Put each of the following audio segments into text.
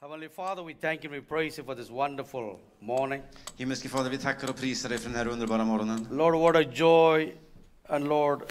Heavenly Father, we thank you and we praise you for this wonderful morning. Himmelske Fader, vi tackar och prisar dig för den här underbara morgonen. Lord, what a joy and Lord,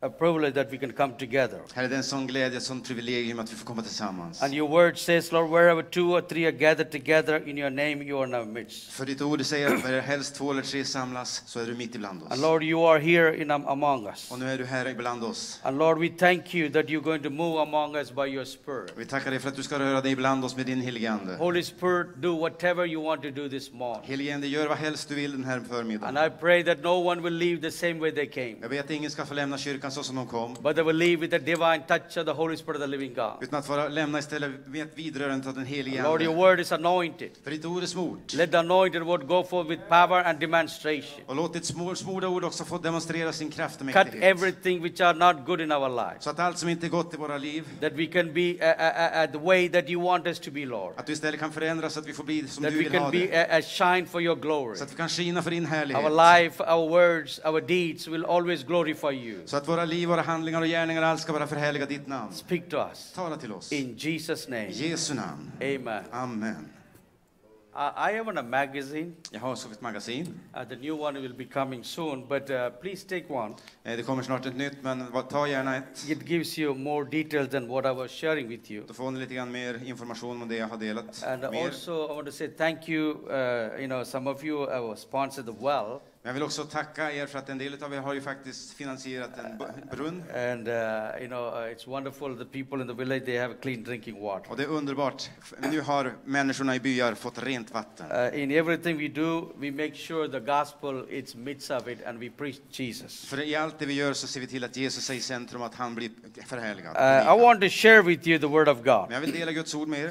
a privilege that we can come together. Herre, det är en sån glädje, ett sånt privilegium att vi får komma tillsammans. And your word says, Lord, wherever two or three are gathered together in your name, you are in our midst. För ditt ord säger att när helst två eller tre samlas så är du mitt ibland And oss. Lord, you are here in am- among us. Och nu är du här ibland oss. And Lord, we thank you that you're going to move among us by your Spirit. Vi tackar dig för att du ska röra dig ibland oss med din helige Ande. Holy Spirit, do whatever you want to do this morning. Helige Ande, gör vad helst du vill den här And förmiddagen. I pray that no one will leave the same way they came, Jag vet att ingen ska få lämna kyrkan så som de kom, but they will leave with the divine touch of the Holy Spirit of the living God. utan att vara, lämna istället med ett vidrörande av den helige Lord, your Ande. word is anointed. För ditt ord är smort. Let the anointed word go forth with power and demonstration. Och låt ditt smor- smorda ord också få demonstrera sin kraft och Cut mäktighet. everything which are not good in our lives, Så att allt som inte är gott i våra liv that we can be uh, uh, uh, the way that you want us to be, Lord. Att du istället kan förändras så att vi får bli som That du we vill can ha be det. a, a shine for your glory. Så att vi kan skina för din härlighet. Our life, our words, our deeds will always glorify you. Så att våra liv, våra handlingar och gärningar, allt ska bara förhärliga ditt namn. Speak to us. Tala till oss. I In Jesus' name. Jesu namn. Amen. Amen. I, I have on a magazine. Jag har också ett magasin. Uh, the new one will be coming soon, but uh, please take one. Eh, Det kommer snart ett nytt, men va- ta gärna ett. It gives you more details than what I was sharing with you. Då får ni lite grann mer information om det jag har delat. And Mer. also, I want to say thank you. Uh, you know, some of you uh, sponsored the well, Men jag vill också tacka er för att en del av er har ju faktiskt finansierat en bu- brunn. and uh, you know, uh, it's wonderful. The people in the village they have clean drinking water. Och det är underbart. F- Nu har människorna i byar fått rent vatten. Uh, in everything we do, we make sure the gospel is midst of it, and we preach Jesus. För i allt det vi gör så ser vi till att Jesus är i centrum, att han blir förhärligad. Uh, I want to share with you the word of Men God, jag vill dela Guds ord med er.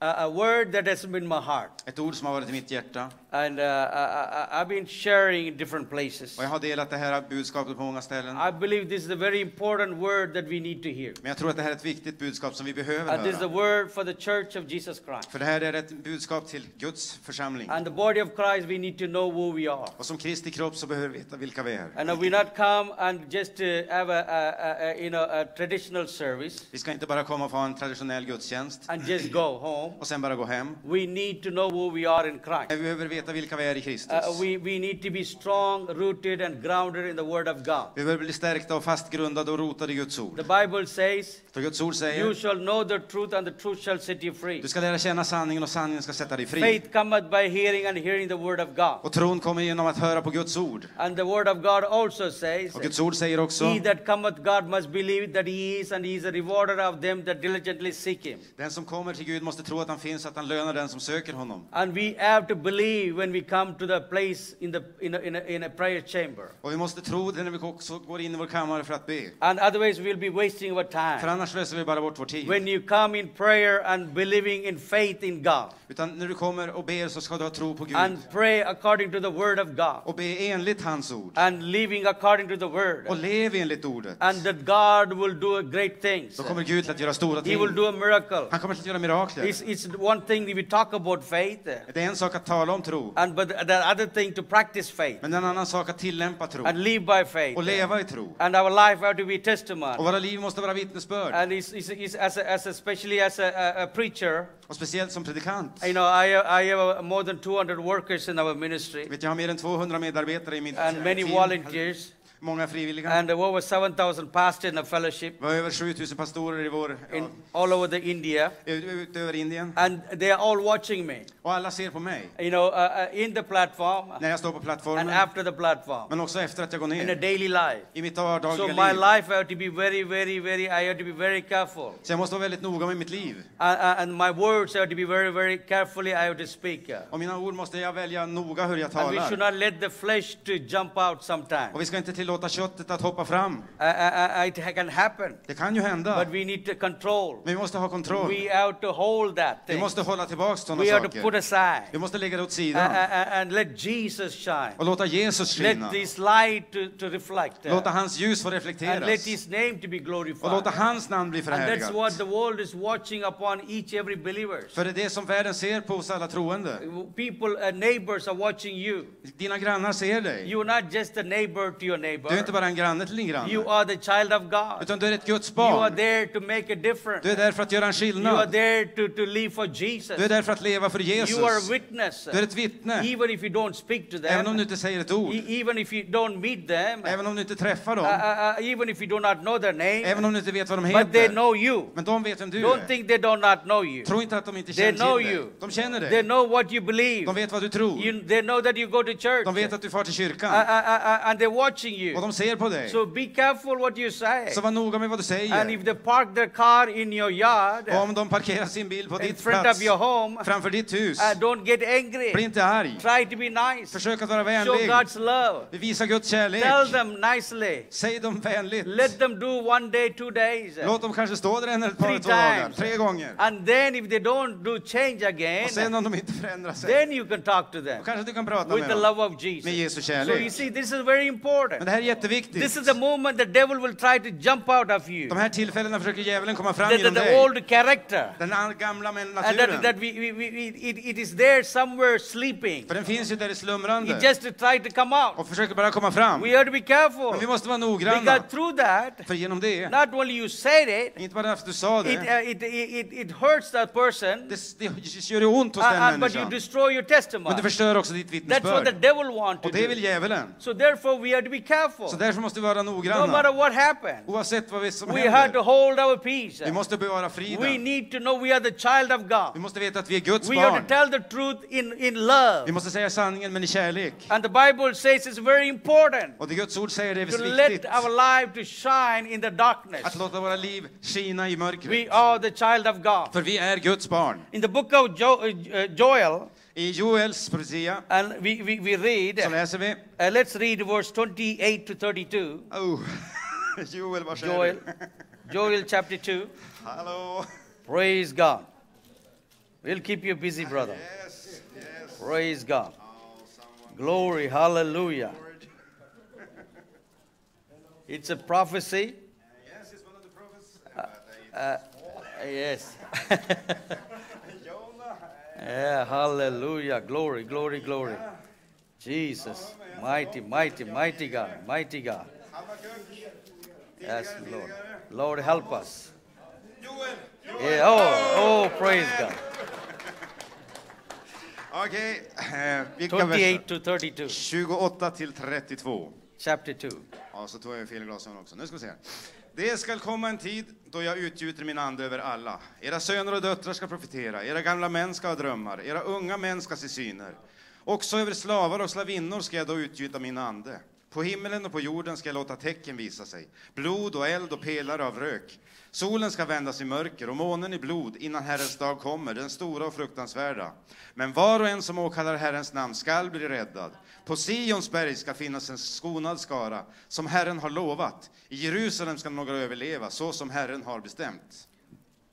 uh, a word that has been in my heart, Ett ord som har varit i mitt hjärta. and uh, I, I, I've been sharing in different places. Och jag har delat det här budskapet på många ställen. I believe this is a very important word that we need to hear. Men jag tror att det här är ett viktigt budskap som vi behöver And this is the höra. word for the church of Jesus Christ. För det här är ett budskap till Guds församling. And the body of Christ, we need to know who we are. Och som Kristi kropp så behöver vi veta vilka vi är. And we not come and just uh, have a, a, a, a, you know, a traditional service Vi ska inte bara komma och få en traditionell gudstjänst and just go home. och sen bara gå hem. We need to know who we are in Christ. Nej, Vi behöver veta vilka vi är i Kristus. Uh, we, we need to be strong, rooted, and grounded in the Word of God. Vi behöver bli stärkta och fastgrundade och rotade i Guds The ord. Bible says, För Guds ord You säger, shall know the truth, and the truth shall set you free. du ska lära känna sanningen och sanningen ska sätta dig fri. Faith cometh by hearing, and hearing the Word of God. Och tron kommer genom att höra på Guds ord. And the Word of God also says, Och Guds ord säger också, He that cometh God must believe that he is, and he is a rewarder of them that diligently seek him. Den som kommer till Gud måste tro att han finns, att han lönar den som söker honom. And we have to believe when we come to the place in, the, in, a, in, a, in a prayer chamber. Och vi måste tro det när vi också går in i vår kammare för att be. And otherwise, we'll be wasting our För time. annars slösar vi bara bort vår tid. When you come in prayer and believing in faith in God Utan när du kommer och ber så ska du ha tro på Gud. and pray according to the Word of God Och be enligt hans ord. and living according to the Word, Och lev enligt ordet. and that God will do great things. Då kommer Gud att göra stora He will ting. do a miracle. Han kommer att göra It's, mirakler. it's one thing we talk about faith, Det är en sak att tala om tro, and but the other thing to practice faith. men det är en annan sak att tillämpa tro and live by faith. och leva i tro. And our life have to be Och testimony. våra liv måste vara vittnesbörd. And it's, it's, it's as, a, as a- especially as a, a, a preacher, Och speciellt som predikant. you know, I, I have uh, more than 200 workers in our ministry Vet, jag har mer än 200 medarbetare i mitt eh, and many team. volunteers Många frivilliga. and over 7,000 pastors in a fellowship Vi har över 7000 pastorer i vår, in all over the India. ja, ut- ut över Indien. And they are all watching me, Och alla ser på mig you know, uh, uh, in the platform när jag står på and plattformen, after the platform men också efter att jag går in a ner daily life. i mitt So my vardagliga liv. life I have to be very, very, very, I have to be very careful. Så jag måste vara väldigt noga med mitt liv. Uh, uh, and my words have to be very, very carefully. I have to speak. uh, Och mina ord måste jag välja noga hur jag And we should talar. not let the flesh to jump out sometime. Och vi ska inte tillåta köttet att hoppa fram. Uh, uh, uh, it ha- can happen, Det kan ju hända, but men we need to control. vi måste ha We kontroll. have to hold that Vi thing. måste hålla tillbaka sådana We have to put saker. aside Vi måste lägga det åt uh, uh, sidan uh, and let Jesus shine. och låta Jesus skina. Let this light to, to reflect. uh, Låta hans ljus få and let reflekteras. His name to be Och glorified. låta hans namn bli And that's förhärligat. what the world is watching upon each every believer. För det är det som världen ser på oss alla troende. People, uh, neighbors are watching you. Dina grannar ser dig. You're not just a neighbor to your Du är inte neighbor. bara en granne till din You granne, are the child of God. utan du är ett Guds You are barn. there to make a difference. Du är där för att göra en You are skillnad. there to, to live for Du är Jesus. där för att leva för You are a Jesus. witness. Du är ett vittne, Even if you don't speak to även om them, du inte säger ett ord, e- even if you don't meet them, uh, även om du inte träffar uh, dem, uh, even if you do not know their även name, om du inte vet vad de but they heter. know you. Men de vet vem du Don't är. think they do not know you. Tro inte att de inte They känner know till dig. you. De känner They dig. know what you believe. De vet vad du tror. You, they know that you go to church. De vet att du far till Uh, uh, kyrkan. uh, uh, and they're watching Och you. de ser på dig. So be careful what you say. Så var noga med vad du And säger. if they park their car in your yard, Och om de parkerar sin bil på in ditt front plats, of your home, framför ditt hus, uh, don't get bli angry. inte arg. Try to be nice. Försök att vara Show vänlig. God's love. Visa Guds kärlek. Tell them nicely. Säg dem vänligt. Let them do one day, two days. Låt dem kanske stå där en eller ett par, Three två dagar, times. tre gånger. And then if they don't do change again, Och sen om de inte förändrar sig, then you can talk to them då kanske du kan prata with med the dem. love of Med Jesus. Jesu So you kärlek. see, this is very Men important. det här är This jätteviktigt. is the moment the devil will try to jump out of you. De här tillfällena försöker djävulen komma fram That, that genom the dig. old character, Den all- gamla men and that, that naturen. we, we, we, we- it, it is there somewhere sleeping. För den finns ju där i It slumrande. just to try to come out. Och försöker bara komma fram. We have to be careful. Men vi måste vara Because noggranna. through that, För genom det, not only you said it, inte bara för att du sa it, det, uh, it, it, it hurts that person, det, det gör ju ont uh, hos uh, den but you människan. destroy your Men testimony. det förstör också ditt That's what the vittnesbörd. devil wants to Och det vill do. djävulen. So therefore, we have to be careful. Så därför måste vi vara No noggranna. matter what happens, Oavsett vad vi som we have händer. to hold our peace. Vi måste bevara We friden. need to know we are the child of Vi God. måste veta att vi är Guds We have barn. to tell the truth in, in Vi love. måste säga sanningen men i kärlek. And the Bible says it's very important Och det Guds ord säger det är to visst let viktigt. our life to shine in the Att darkness. låta våra liv skina i mörkret. We are the child of God. För vi är Guds barn. In the book of jo- uh, Joel, I Joels profetia and we, we, we read, så läser vi... uh, let's read verse 28 to 32. Oh. Joel, vad säger Joel, du? Joel chapter 2. Hallå! Praise God. We'll keep you busy, brother. Yes, yes. Praise God. Oh, someone. Glory, hallelujah. It's a prophecy. Yes, it's one of the prophets. Uh, yes. Jonah. Yeah, hallelujah. Glory, glory, glory. Jesus. Mighty, mighty, mighty God. Mighty God. Habakuk. Yes, Lord. Lord, help us. Joel! Yeah, oh, oh, praise God. Okej, eh, vilka verser? 28 to 32, 28 till 32. chapter 2. Ja, så tog jag fel glasögon också. Nu ska vi se. här. Det skall komma en tid då jag utgjuter min ande över alla. Era söner och döttrar ska profetera, era gamla män ska ha drömmar, era unga män ska se syner. Också över slavar och slavinnor ska jag då utgjuta min ande. På himmelen och på jorden ska jag låta tecken visa sig, blod och eld och pelare av rök. Solen ska vändas i mörker och månen i blod innan Herrens dag kommer, den stora och fruktansvärda. Men var och en som åkallar Herrens namn skall bli räddad. På Sions berg ska finnas en skonad skara, som Herren har lovat. I Jerusalem ska några överleva, så som Herren har bestämt.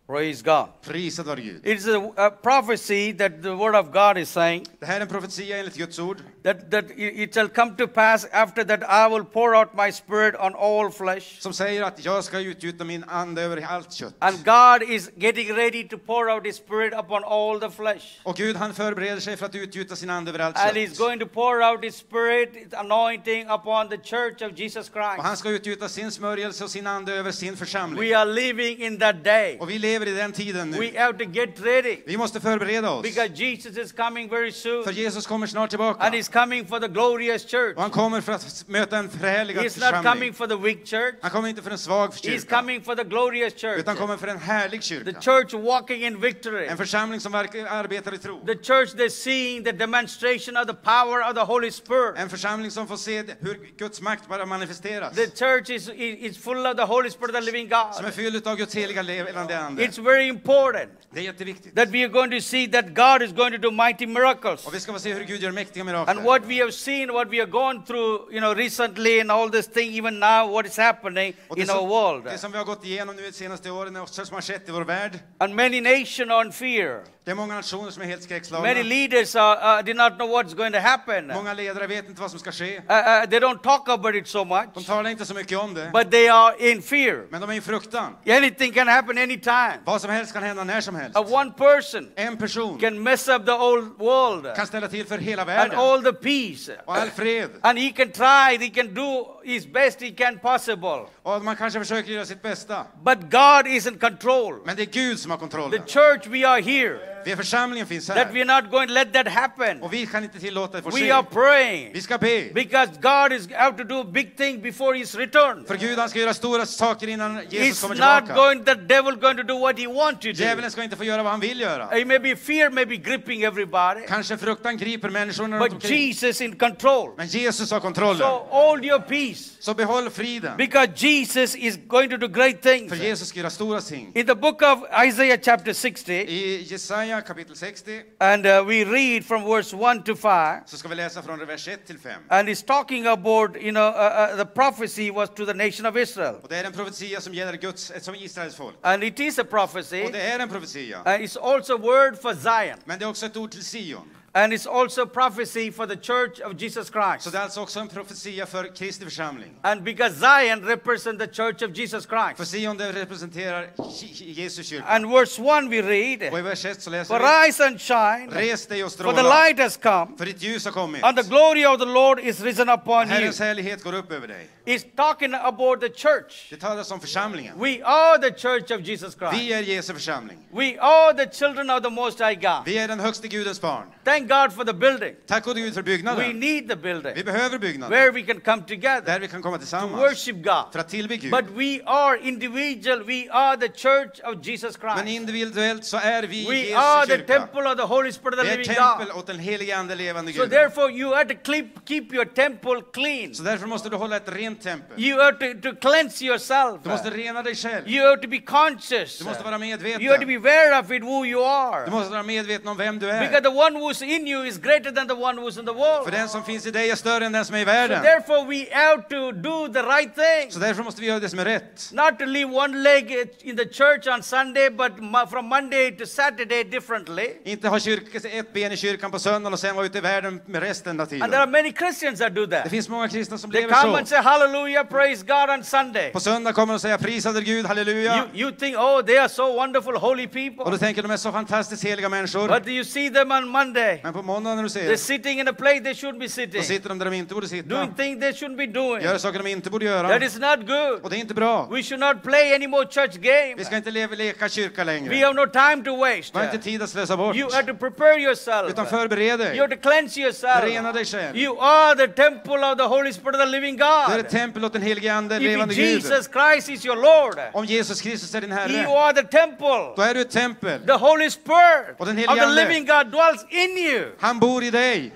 Praise God. Prisad vare Gud. It's a, a prophecy that the word of God is saying Det här är en profetia enligt Guds ord. that, that it it shall come to pass after that I will pour out my spirit on all flesh. som säger att jag ska utgjuta min ande över allt kött. And God is getting ready to pour out his spirit upon all the flesh. Och Gud han förbereder sig för att utgjuta sin ande över allt And he's kött. going to pour out his spirit, his anointing upon the church of Jesus Och Christ. han ska utgjuta sin smörjelse och sin ande över sin församling. We are living in that day. Och vi lever i den tiden We nu. have to get ready Vi måste förbereda oss. because Jesus is coming very soon. För Jesus kommer snart And tillbaka. he's coming for the glorious church. Och han kommer för att möta en förhärligad He's not coming församling. for the weak church. Han kommer inte för en svag He's kyrka, coming for the glorious church. utan kommer för en härlig The kyrka. church walking in victory. En församling som verkligen arbetar i tro. The church that's seeing the demonstration of the power of the Holy Spirit. En församling som får se hur Guds makt bara manifesteras. The church is, is, is full of the Holy Spirit of the living Som är God. fylld av Guds heliga levande ande. It's very important Det är jätteviktigt. that we are going to see that God is going to do mighty miracles. Och vi ska få se hur Gud gör mäktiga And mirakler. what we have seen, what we have gone through, you know, recently and all this thing, even now, what is happening Och det, in our som, world. det som vi har gått igenom nu de senaste åren och som har skett i vår värld. And many nations on fear. Det är många nationer som är helt Many skräckslagna. leaders uh, uh, did not know what's going to happen. Uh, Många ledare vet inte vad som ska ske. uh, they don't talk about it so much, De talar inte så mycket om det. but they are in fear. Men de är i fruktan. Anything can happen anytime. Vad som helst kan hända när som helst. Uh, one person En person can mess up the whole world kan ställa till för hela and världen all the peace. och all fred. And he can try, he can do his best he can possible. Och man kanske försöker göra sitt bästa. But God is in control. Men det är Gud som har The kontrollen. church, we are here. Vi är församlingen finns That we här. are not going to let that happen. Och vi kan inte tillåta det få We ske. are praying Vi ska be. because God is have to do big thing before His return. För Gud han ska göra stora saker innan Jesus It's kommer not tillbaka. going. The devil going to do what he want to do. Djävulen ska inte få göra vad han vill göra. It may be fear, may be gripping everybody, Kanske fruktan griper människorna runt but omkring. Jesus in control. Men Jesus har kontrollen. So hold your peace Så behåll friden. because Jesus is going to do great För things. Jesus ska göra stora ting. In the book of Isaiah chapter 60, I Jesaja kapitel 60 and uh, we read from verse 1 to 5, så ska vi läsa från vers 1 till 5. and he's talking about, you know, uh, uh, the prophecy was to the nation of Israel. Och det är en profetia som gäller Guds, som Israels folk. And it is a prophecy. Och det är en profetia. Uh, it's also word for Zion, Men det är också ett ord till Sion. and it's also prophecy for the church of Jesus Så Christ. det är alltså också en profetia för Kristi församling. And because Zion represents the church of Jesus För Christ. Sion det representerar Jesu kyrka. And verse 1 we read, Och i vers 1 så läser For vi. rise and shine, Res dig och for the stråla, light has come, för ditt ljus har kommit. and the glory of the Lord is risen upon you. Herrens härlighet går upp över dig. He's talking about the church. Det talas om församlingen. We are the church of Jesus Christ. Vi är Jesu församling. We are the children of the Most High God. Vi är den högste Gudens barn. Thank God for the building. Tack gode Gud för We byggnaden. need the Vi building behöver byggnaden where we can come together där vi kan komma to tillsammans worship God. för att tillbe Gud. But we are individual. We are the church of Jesus Men Christ. individuellt så är vi We Jesu are the kyrka. temple of the Holy Spirit of Vi the är living tempel God. åt den helige Ande levande So Gud. therefore, you have to keep, keep your temple clean. Så därför måste du hålla ett rent tempel. You have to, to cleanse yourself. Du måste rena dig själv. You have to be conscious. Du måste vara You have to medveten. be aware of it, who you Du are. måste vara medveten om vem du Because är. the one who's in you is greater than the one who's in the world. För den som finns i dig är större än den som är i So världen. therefore, we have to do the right thing. Så därför måste vi göra det som är rätt. Not to leave one leg in the church on Sunday, but mo- from Monday to Saturday differently. Inte ha kyrka, ett ben i kyrkan på söndagen och sen vara ute i världen med resten av And there are tiden. many Christians that do Det that. finns många kristna som They lever come and så. say hallelujah, praise God on Sunday. På söndag kommer de säga prisade Gud, halleluja. You, you think, oh, they are so wonderful, holy Och people. då tänker de är så fantastiskt heliga människor. But you see them on Monday. Men på måndag när du ser They're dem, sitting in a place they shouldn't be då sitting, sitter de där de inte borde doing sitta. things they shouldn't be doing. Gör saker de inte borde That göra. is not good. Och det är inte bra. We should not play any more church game. Vi ska inte leva, leka kyrka We längre. have no time to waste. Vi har inte tid att slösa bort. You have to prepare yourself. Utan förbered You have dig. to cleanse Rena yourself. dig själv. You are the temple of the Holy Spirit of the living Du är ett God. tempel åt den helige Ande, If levande Gud. Jesus Christ is your Lord, Om Jesus Kristus är din you Herre, are the temple. då är du ett tempel. The Holy Spirit Och of den helige the Ande. living God dwells in you. Han bor i dig.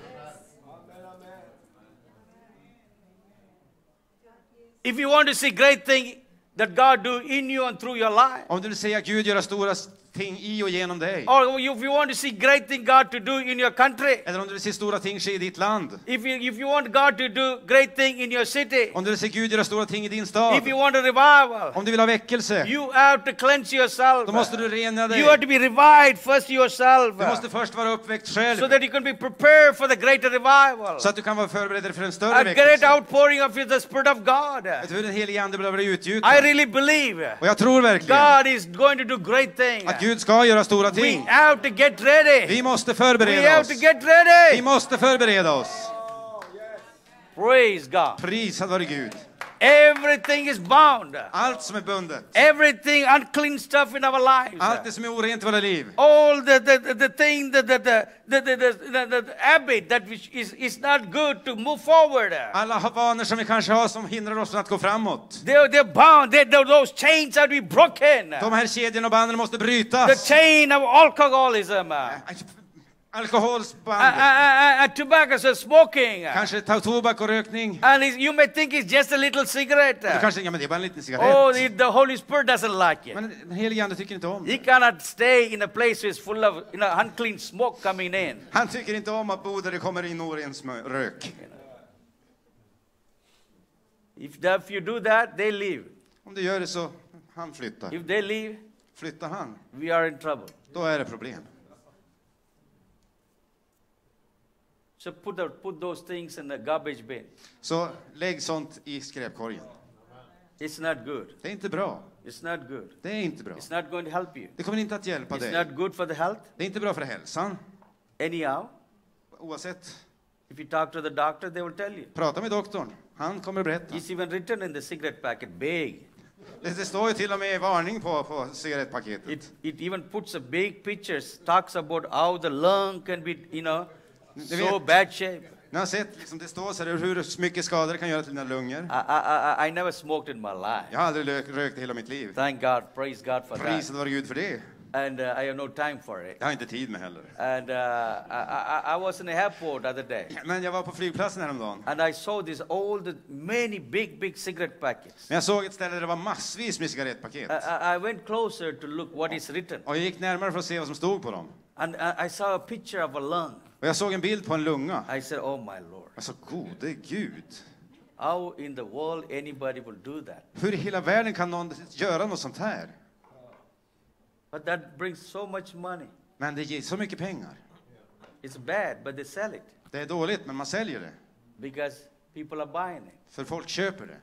If you want to see great thing that God do in you and through your life, Om du vill se att Gud göra stora ting i och genom dig. or if you want to see great thing God to do in your country, Eller om du vill se stora ting ske i ditt land. if you, if you want God to do great thing in your city, Om du vill se Gud göra stora ting i din if stad. you want a revival, Om du vill ha väckelse. you have to cleanse yourself. Då måste du rena dig. You have to be revived first yourself Du måste först vara uppväckt so själv. that you can be prepared for the greater revival. Så att du kan vara förberedd för en större A great väckelse. outpouring of the Spirit of God. Vet du hur den helige Ande behöver bli I utgjuten? really believe Och jag tror verkligen God is going to do great things. att Gud ska göra stora We ting. have to get ready. Vi måste We förbereda have oss. to get Vi ready. måste förbereda oss. Praise God. Prisad vare Gud. Everything is bound. Allt som är bundet. Everything unclean stuff in our Allt det lives. som är orent i våra liv. All the, the, the, the thing, the, the, the, the, the, the, the, the habit that which is, is not good to move forward. Alla vanor som vi kanske har som hindrar oss från att gå framåt. They're, they're bound. They, they- those chains have to be broken. De här kedjorna och banden måste The brytas. chain of alcoholism, uh, uh, Alkoholsband. uh, uh, tobacco, so smoking. Kanske ta tobak och rökning. And it's- you may think it's just a little cigarette. Du kanske tänker, ja, men det är bara en liten Oh, cigarett. the, the Holy Spirit doesn't like it. Men den helige Ande tycker inte om He det. cannot stay in a place which is full of you know, unclean smoke coming in. Han tycker inte om att bo där det kommer in oren smö- rök. If, the, if you do that, they leave. Om du gör det så, han flyttar. If they leave, Flyttar han, we are in trouble. då är det problem. So put, the, put those things in the garbage bin. Så lägg sånt i skräpkorgen. It's not good. Det är inte bra. It's not good. Det är inte bra. It's not going to help you. Det kommer inte att hjälpa It's dig. not good for the health. Det är inte bra för hälsan. Anyhow, Oavsett, if you talk to the doctor, they will tell you. prata med doktorn. Han kommer att berätta. It's even written in the cigarette packet, big. Det, det står ju till och med varning på, på cigarettpaketet. It, it even puts a big pictures, talks about how the lung can be, you know, Det so vet- bad shape. Ni har sett, liksom, det står så här, hur mycket skador det kan göra till dina lungor. I, I, I, I never smoked in my life. Jag har aldrig lö- rökt i hela mitt liv. Thank God, praise God for that. Priset vare Gud för det. And uh, I have no time for it. Det har jag inte tid med heller. And uh, I, I, I was in the airport the other day, Men jag var på flygplatsen häromdagen. and I saw these old, many big, big cigarette packets. Men jag såg ett ställe där det var massvis med cigarettpaket. I, I I went closer to look what is written, Och jag gick närmare för att se vad som stod på dem. and I, I saw a picture of a lung. Och jag såg en bild på en lunga. I said, "Oh my Lord, Jag sa, gode gud. how in the world anybody will do that?" Hur i hela världen kan någon göra något sånt här? But that brings so much money. Men det ger så mycket pengar. It's bad, but they sell it Det är dåligt, men man säljer det. because people are buying it. För folk köper det.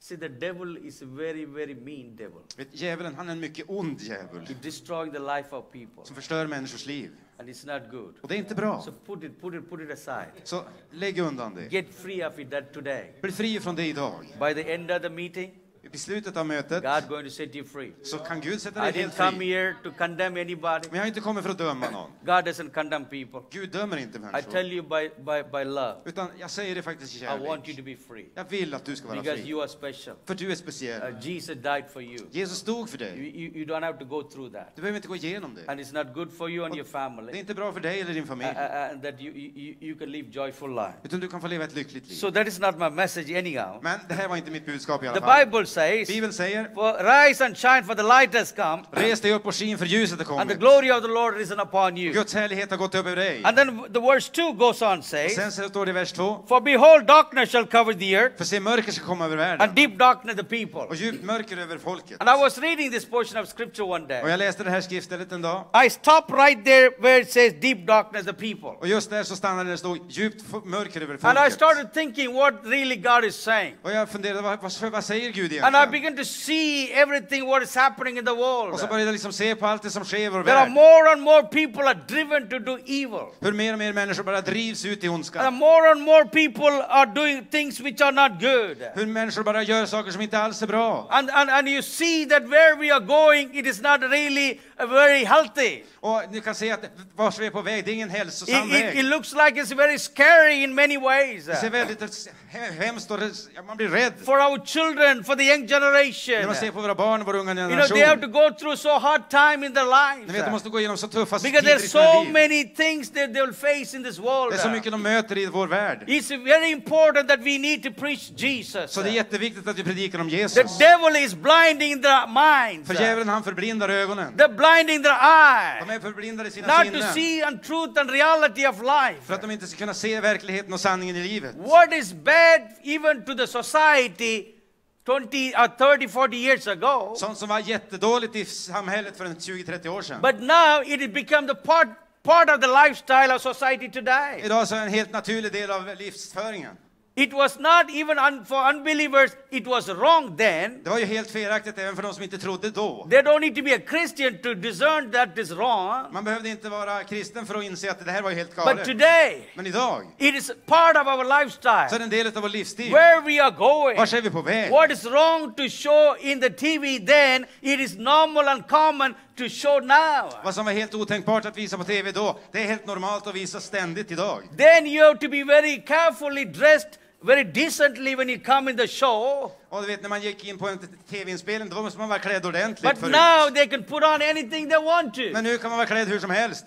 See, the devil is a very, very mean devil. Vet, djävulen, han är en mycket ond djävul. He destroying the life of people, Som förstör människors liv. and it's not good. Och det är inte bra. So put it, put it, put it aside. Så lägg undan det. Get free of it that today. Bli fri från det idag. By the end of the meeting, I slutet av mötet God going to set you free. så kan Gud sätta I dig didn't helt come fri. here to condemn anybody. Men jag har inte kommit för att döma någon. God doesn't condemn people. Gud dömer inte I tell människor. you by, by, by love, Utan jag säger det faktiskt i I want you kärlek. to be free Jag vill att du ska vara because fri. you are special. För du är Uh, speciell. Jesus died for you. Jesus stod för You, dig. you. you don't have to go through that. Du behöver inte gå igenom det. And it's not good for you and your Det är family inte bra för dig eller din uh, uh, familj. uh, that you, you, you- you can live joyful life. Utan du kan få leva ett lyckligt liv. So that is not my message anyhow. Men det här var inte mitt budskap i alla The fall. Bible says, Bibeln säger, for rise and shine for the light has come res dig upp och skin för ljuset har and the kommit. glory of the Lord risen upon you. Guds härlighet har gått över dig. And then the verse 2 goes on Och says, sen så står det i vers 2, For behold, darkness shall cover the earth, för se mörker ska komma över and världen deep darkness the people. och djupt mörker över folket. And I was reading this portion of scripture one Och day. jag läste det här skriftstället en dag I stopped right there where it says deep darkness the people. och just där så stannade det och stod djupt f- mörker över And I folket. started thinking what really God is saying. Och jag funderade, vad, vad, vad säger Gud And I egentligen? began to see everything what is happening in the world. Och så började jag liksom se på allt det som sker i vår There are värld. more and more people are driven to do evil. Hur mer och mer människor bara drivs ut i And ondskan. more and more people are doing things which are not good. Hur människor bara gör saker som inte alls är bra. And, and, and you see that where we are going, it is not really uh, very healthy. Och ni kan se att vart vi är på väg, det är ingen hälsosam It, it, it väg. looks like it's very scary in many ways. Det ser väldigt he- hemskt och det- ja, man blir rädd For our children, for the young när generation. man ser på våra barn och vår unga You know, they have to generation. go through so hard time in their lives. uh, Ni vet, de måste gå igenom så tuffa Because tider i there's sina so liv. many things that they'll face in this world. uh, Det är så mycket de möter i vår värld. It's very important that we need to preach Jesus. uh, Så det är jätteviktigt att vi predikar om The Jesus. devil is blinding their minds. uh, För djävulen han förblindar ögonen. They're blinding their De eyes. är förblindade i sina Not to sinnen. see and truth and reality of life. För att de inte ska kunna se verkligheten och sanningen i livet. What is bad even to the society 20 or 30, 40 years ago, Sånt som var jättedåligt i samhället för en 20-30 år sedan. but now it has become the part, part of the lifestyle of society today. Idag så är det en helt naturlig del av livsföringen. It was not even un, for unbelievers, it was wrong then. Det var ju helt felaktigt även för de som inte trodde då. They don't need to be a Christian to discern that is wrong. Man behövde inte vara kristen för att inse att det här var ju helt But galet. today, Men idag it is part of our så är det lifestyle. en del av vår livsstil. Where we are going, Vart är vi på väg? what is wrong to show in the TV then, it is normal and common to show now. Vad som var helt otänkbart att visa på TV då, det är helt normalt att visa ständigt idag. then you have to be very carefully dressed, very decently when you come in the show. Och du vet när man gick in på en TV-inspelning, då måste man vara klädd ordentligt But förut. now they can put on anything they want to Men nu kan man vara klädd hur som helst.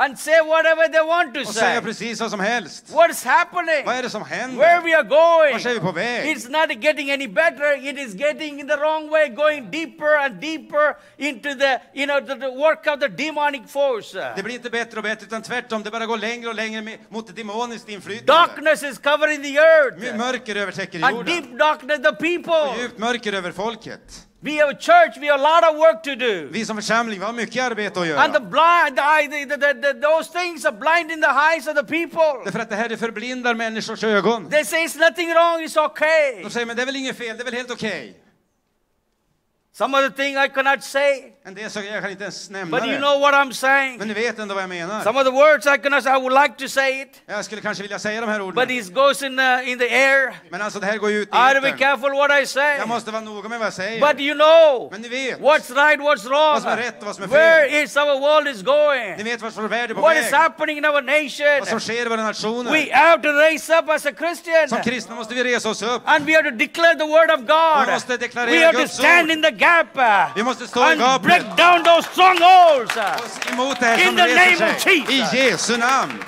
and say whatever they want to Och säga say. precis vad som helst. What is happening? Vad är det som händer? Oh, Where we are going? Vart är vi på väg? It's not getting any better. It is getting in the wrong way, going deeper and deeper into the you know the, the work of the demonic force. Det blir inte bättre och bättre, utan tvärtom, det bara går längre och längre med- mot ett demoniskt inflytande. Darkness is covering the My- earth, Mörker övertäcker and jorden. deep darkness the Och people. djupt mörker över folket. We have a church, we have a lot of work to do. Vi som församling, vi har mycket arbete att And the göra. blind, the, eye- the, the, the, the- those things are blinding the eyes of the people. Därför att det här det förblindar människors ögon. They say it's nothing wrong, it's okay. De säger, men det är väl inget fel, det är väl helt okej. Some of the thing I cannot say, En del saker jag kan inte ens nämna but you det. know what I'm saying. Men ni vet ändå vad jag menar. Some of the words I cannot say, I would like to say it, Jag skulle kanske vilja säga de här but orden. it goes in the, in the air. Men alltså det här går ju ut I i have to be etern. careful what I say. Jag måste vara noga med vad jag But säger. you know Men ni vet. what's right, what's wrong. Vad som är rätt och vad som är fel. Where is our world is Ni going? vet vart vår värld är på What is väg. happening in our nation? Vad som sker i våra We nationer. have to raise up as a Christian. Som kristna måste vi resa oss upp. And we have to declare the word of God. Vi måste deklarera We have to Guds stand ord. in the gap uh, Vi måste stå i and break gapet. down those strongholds. uh. Oss Emot det här In som the name reser of sig. Jesus. I Jesu namn.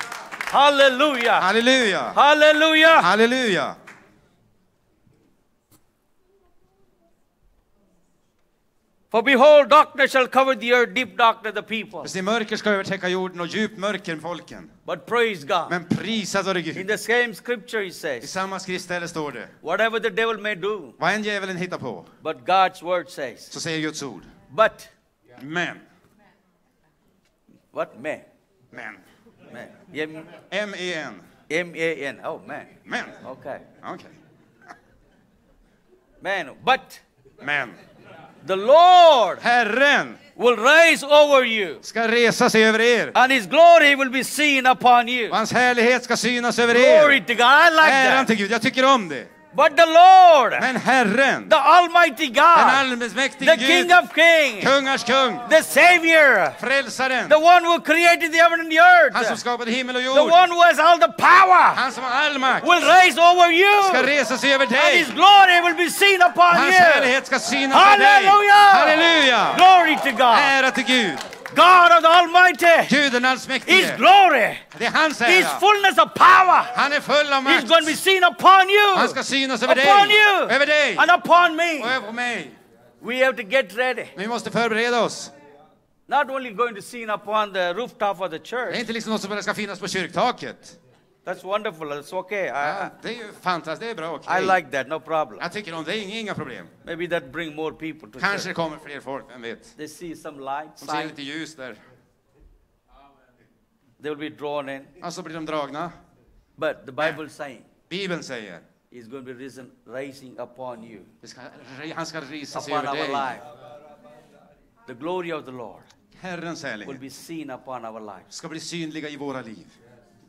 Hallelujah. Halleluja. Hallelujah. Halleluja. For behold, darkness shall cover the earth, deep darkness the people. För se, mörker ska övertäcka jorden och djupt mörker folken. But praise God. Men prisad vare In Gud. the same scripture, he I says, samma skriftställe står det. whatever the devil may do, Vad än djävulen hittar på, but God's word says, så säger Guds ord. but Men. what man? Men. Man. M- M-E-N. M-A-N. Oh, man. Men. Okay. Okej. Man. But Men. the Lord Herren will rise over you, ska resa sig över er. and his glory will be seen upon you. Och hans härlighet ska synas över Glory er. to God. I Äran like that. till Gud, jag tycker om det. But the Lord, Men Herren, the Almighty den God, allsmäktige the King Gud, of Kings, kungars kung, the Savior, frälsaren, the one who created the heaven and the han som earth, skapade himmel och the jord, one who has all the power, han som har all makt, will rise over ska you, resa sig över and his dig. glory will be seen upon Hans you. härlighet ska synas över dig. Hallelujah! Halleluja! Glory to God. Ära till Gud, God of the Almighty, Gud den His allsmäktige. glory, Det är hans His ära. fullness of power Han är full av is makt. going to be seen upon you, Han ska synas över dig, upon you, över dig and upon me. och över mig. We have to get ready. Vi måste förbereda oss. Not only going to seen upon the rooftop of the Det är church. inte liksom något som bara ska finnas på kyrktaket. That's wonderful. That's okay. I, Ja, det är ju fantastiskt, det är bra. I okej. like that. No problem. Jag tycker om det, inga, inga problem. Maybe that bring more people to Kanske church. det kommer fler folk, vem vet? They see some light, De ser sign. lite ljus där. They will be drawn in. Alltså blir de dragna. But the Bible saying Bibeln säger, is going to be risen, rising upon you. det ska, han ska risa sig upon över our dig. life. The glory of the Lord Herrens will härlighet be seen upon our lives. ska bli synliga i våra liv.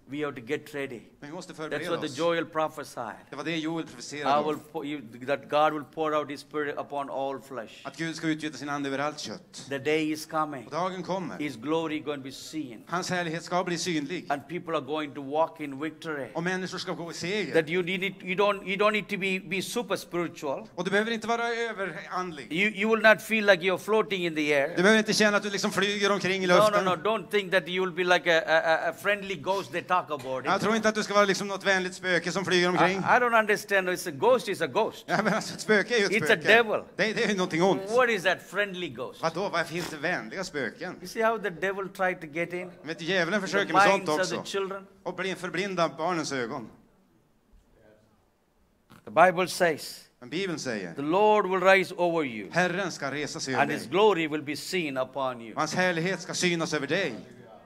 We have to get ready. Men vi måste That's förbereda what the oss. Joel prophesied. Det var det Joel I profeterade will om. pour you, that God will pour out His Spirit upon all flesh. Att Gud ska utgjuta sin ande över allt kött. The day is coming. Och dagen kommer. His glory going to be seen, Hans härlighet ska bli synlig. and people are going to walk in victory. Och människor ska gå i seger. That you need it, you don't you don't need to be be super spiritual. Och du behöver inte vara överandlig. You you will not feel like you're floating in the Du air. behöver inte känna att du liksom flyger omkring i No no no! luften. Don't think that you will be like a, a, a- a friendly ghost they talk about. Jag It. tror inte att du ska vara liksom något vänligt spöke som flyger omkring. I, I don't understand. It's a ghost. It's a ghost. Ja, men alltså, ett spöke är ju ett It's a spöke. devil. Det, det är ju någonting ont. What is that friendly ghost? Vadå, varför finns det vänliga spöken? You see how the devil tried to get in Vet du, djävulen the försöker med sånt minds of the också. children. Och bli- förblinda barnens ögon. The Bible says, Men Bibeln säger, "The Lord will rise over you, Herren ska resa sig över and His dig. glory will be seen upon you." Och hans härlighet ska synas över dig.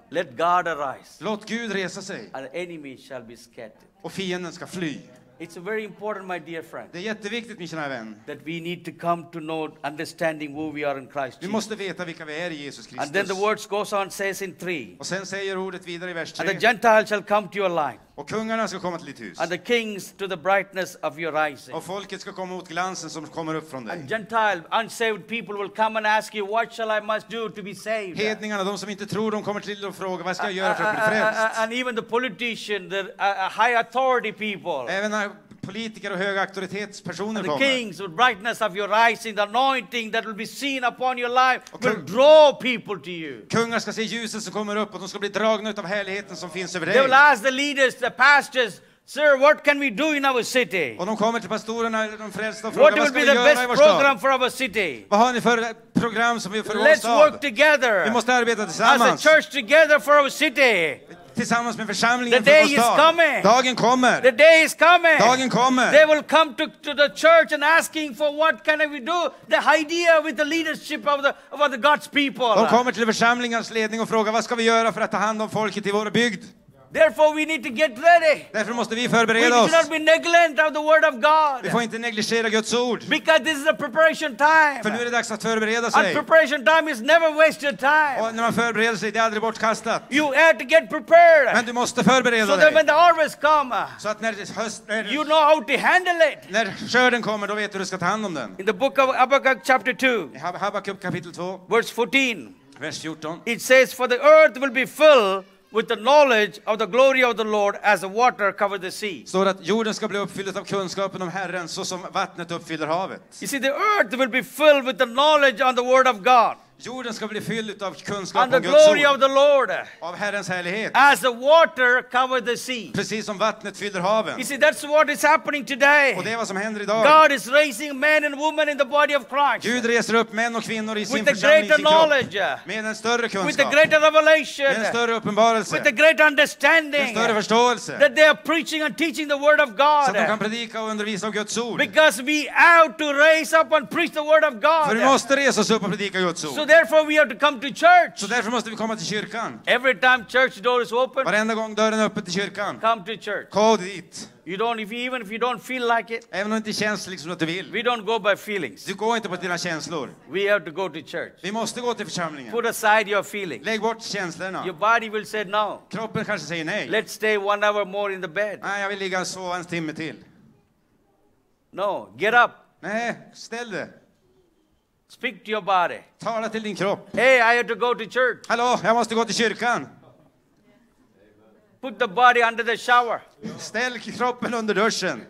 Let God arise, Låt Gud resa sig and the enemy shall be scattered. och fienden ska fly. It's very important, my dear friend, Det är jätteviktigt min kära vän. that we need to come to know understanding who we are in Christ. Vi Jesus. måste veta vilka vi är i Jesus And then the Kristus. words goes on says in three, Och sen säger ordet vidare i vers and the 3. Gentiles shall come to your light, Och kungarna ska komma till ditt hus. and the kings to the brightness of your rising. Och folket ska komma mot glansen som kommer upp från And dig. Gentile, unsaved people will come and ask you, What shall I must do to be saved? Uh, Hedningarna, de som inte tror, de kommer till och frågar vad ska jag göra för att bli frälst? And even the politician, the uh, uh, high authority people, Även när politiker och höga auktoritetspersoner and the kommer. kings, with brightness of your rising, the anointing that will be seen upon your life Och will kung- draw people to you. Kungar ska se ljuset som kommer upp och de ska bli dragna av härligheten som finns över They will dig. ask the leaders, the pastors, Sir, what can we do in our city? Och de kommer till pastorerna, de frälsta och What frågar will vad ska be vi the göra i best vår program stad? for our city? Vad har ni för program som vi för vår Let's work stad? Vi together måste arbeta as a tillsammans. church together for our city. tillsammans med församlingen The day is frukostdag. coming. Dagen The kommer. day is coming. Dagen kommer. They will come to, to the church and asking for what can we do. The idea with the leadership of the, of the God's people. De kommer till församlingens ledning och frågar vad ska vi göra för att ta hand om folket i vår bygd? Therefore, we need to get ready. Därför måste vi We förbereda should oss. not be negligent of the word of God. Vi får inte negligera Guds ord. Because this is a preparation time. För nu är det dags att förbereda And sig. preparation time is never wasted time. Och när man förbereder sig, det är aldrig bortkastat. You have to get prepared. Men du måste So förbereda that when dig. the harvest come, uh, Så att när, det- höst, you när, know how to handle it. när skörden kommer, då vet du hur du ska ta hand om den. In the book of Habakkuk chapter 2, I Hab- Habakuk kapitel 2, verse 14, vers 14. it says, For the earth will be filled with the knowledge of the glory of the Lord as the water covers the sea. Står att jorden ska bli uppfylld av kunskapen om Herren så som vattnet uppfyller havet. You see, the earth will be filled with the knowledge on the word of God Jorden ska bli fylld av kunskap and the om Guds glory of ord, the Lord av Herrens härlighet. as the water covers the sea. Precis som vattnet fyller You haven. see, that's what is happening today. Och det är vad som händer idag. God is raising men and women in the body of Christ Gud reser upp män och kvinnor i sin with a församling, i greater sin kropp. knowledge, uh, Med en större with a kunskap, greater med en revelation, större with a uppenbarelse, great med en understanding större förståelse. that they are preaching and teaching the word of Så att de kan God. predika och undervisa om Guds ord. Because we have to raise up and preach the word of För vi God. måste resa oss upp och predika Guds So ord. therefore we have to come to church. Så därför måste vi komma till kyrkan. Every time church door is open, Varenda gång dörren är öppen till kyrkan. come to church. Gå dit. You don't if you, even if you don't feel like it, Även om det inte känns liksom att du vill. we don't go by feelings. Du går inte på dina känslor. We have to go to church. Vi måste gå till församlingen. Put aside your feelings. Lägg bort Your känslorna. body will say no. Kroppen kanske säger nej. Let's stay one hour more in the bed. Nej, jag vill ligga och sova en timme till. No, get up. Nej, ställ dig. Speak to your body. Tala till din kropp. Hey, I have to go to church. Hallå, jag måste gå till kyrkan. Put the body under the shower. Ställ kroppen under duschen.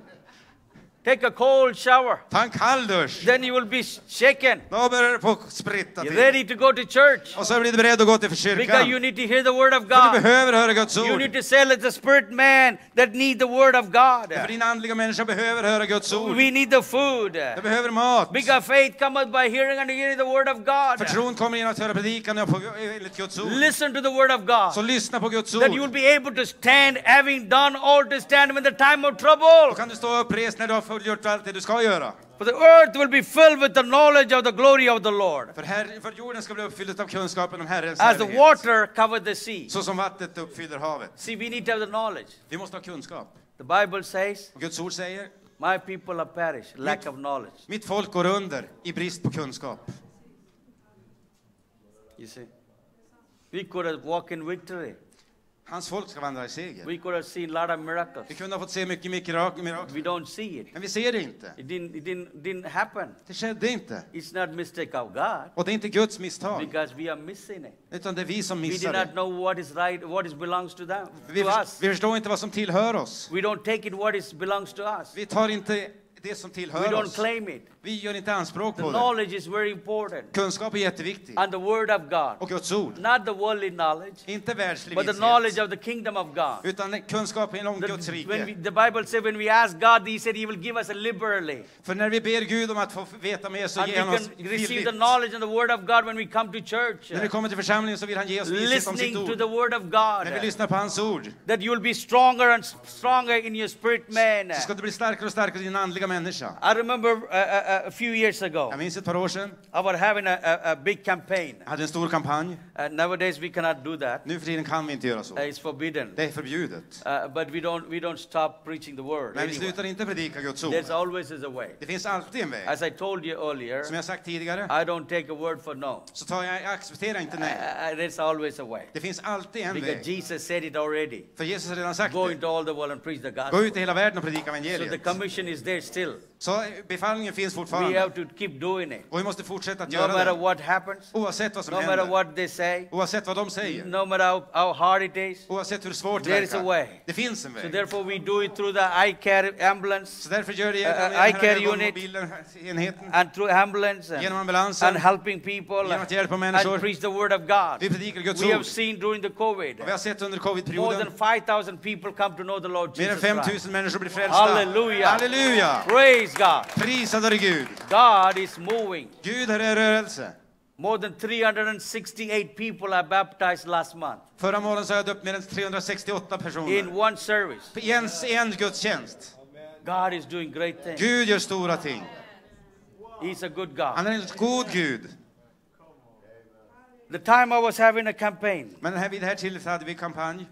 Take a cold shower. Ta en kall dusch. Then you will be shaken. Då börjar det på att spritta You're till. ready to go to church Och så blir du beredd att gå till because kyrkan. you need to hear the word of För du God. behöver höra Guds You ord. need to say, let the spirit man that need the word of God. För din andliga människa behöver höra Guds ord. We need the food. Du behöver mat. Because faith cometh by hearing and hearing the word of För God. tron kommer genom att höra predikan och på- enligt Guds ord. Listen to the word of Så God. lyssna på Guds That you will ord. be able to stand, having done all to stand when the time of trouble. Då kan du stå upprest när du har fullgjort allt det du ska göra. For the earth will be filled with the knowledge of the glory of the Lord, För, här, för jorden ska bli uppfylld av kunskapen om Herrens as the härlighet. water covered the sea. Så som vattnet uppfyller havet. See, we need to have the knowledge. Vi måste ha kunskap. The Bible says, Och Guds ord säger, My people are perished, lack of knowledge. mitt folk går under i brist på kunskap. You see, we could have walked in victory. Hans folk ska vandra i seger. We could have seen a lot of miracles. Vi kunde ha fått se mycket mirakel, mirakel We don't see it. men vi ser det inte. It didn't, it didn't, didn't happen. Det skedde inte. It's not mistake of God Och det är inte Guds misstag, because we are missing it. utan det är vi som We missar did not det. know what is right, what is belongs to them, Vi, to förs- us. vi förstår inte vad som tillhör oss. We don't take it what is belongs to us. Vi tar inte det som We tillhör don't oss. claim it. Vi gör inte anspråk The på det. knowledge is very important. Kunskap är jätteviktig. And the word of God. Och Guds ord. Not the worldly knowledge, Inte världslig but the knowledge vishet, of the kingdom of God. utan kunskap inom The, Guds when we, rike. the Bible says when we ask God, He said He will give us liberally. För när vi ber Gud om att få veta mer så And ger han oss we can receive the villigt. knowledge and the word of God when we come to church. När vi kommer till församlingen så vill han ge oss vishet om sitt Listening to ord. the word of När vi God. lyssnar på hans ord That you will be stronger and s- stronger in your spirit, man. så ska du bli starkare och starkare i din andliga människa. I remember uh, uh, uh, a few years ago, Jag minns ett par år sedan, I was having a, a, a big campaign. jag hade en stor kampanj. Uh, nowadays, we cannot do that. Nu för tiden kan vi inte göra Uh, så. it's forbidden. Det är förbjudet. Uh, but we don't, we don't stop preaching the word. Men vi anyway. slutar inte predika Guds ord. There's always is a way. Det finns alltid en väg. As I told you earlier, Som jag sagt tidigare I don't take a word for no. så tar jag, jag accepterar inte I, nej. I- there's always a way. Det finns alltid en Because väg. Jesus said it already. För Jesus har redan sagt Go det. into all the world and preach the Gå gospel. ut i hela världen och predika So the evangeliet. commission is there still. Så befallningen finns We fortfarande. have to keep doing it. Och vi måste fortsätta att No göra matter det. what happens, Oavsett vad som no matter händer. what they say, Oavsett vad de säger. no matter how, how hard it is. Oavsett hur svårt det There is a way. verkar. Det finns en So väg. therefore we do it through the eye care ambulance Så därför gör det Uh, genom uh, I care den här unit. mobilen, enheten. and through ambulance and, Genom and ambulansen. helping people Genom att hjälpa and människor. preach the word of God. Vi predikar Guds We have ord. seen during the Och vi COVID, har sett more under than covid-perioden 5,000 people come to know the Lord mer än Jesus Christ. 5000 människor blir frälsta. Halleluja. Halleluja! Praise God. Prisad är Gud. God is moving. Gud här är rörelse. More than 368 people are baptized last month Förra morgonen så har jag döpt mer än 368 in personer. one service. I en, i en gudstjänst. God is doing great things. Gud gör stora ting. He's a good God. Han är en god Gud. The time I was having a campaign, Men här, vid det här tillfället hade vi kampanj.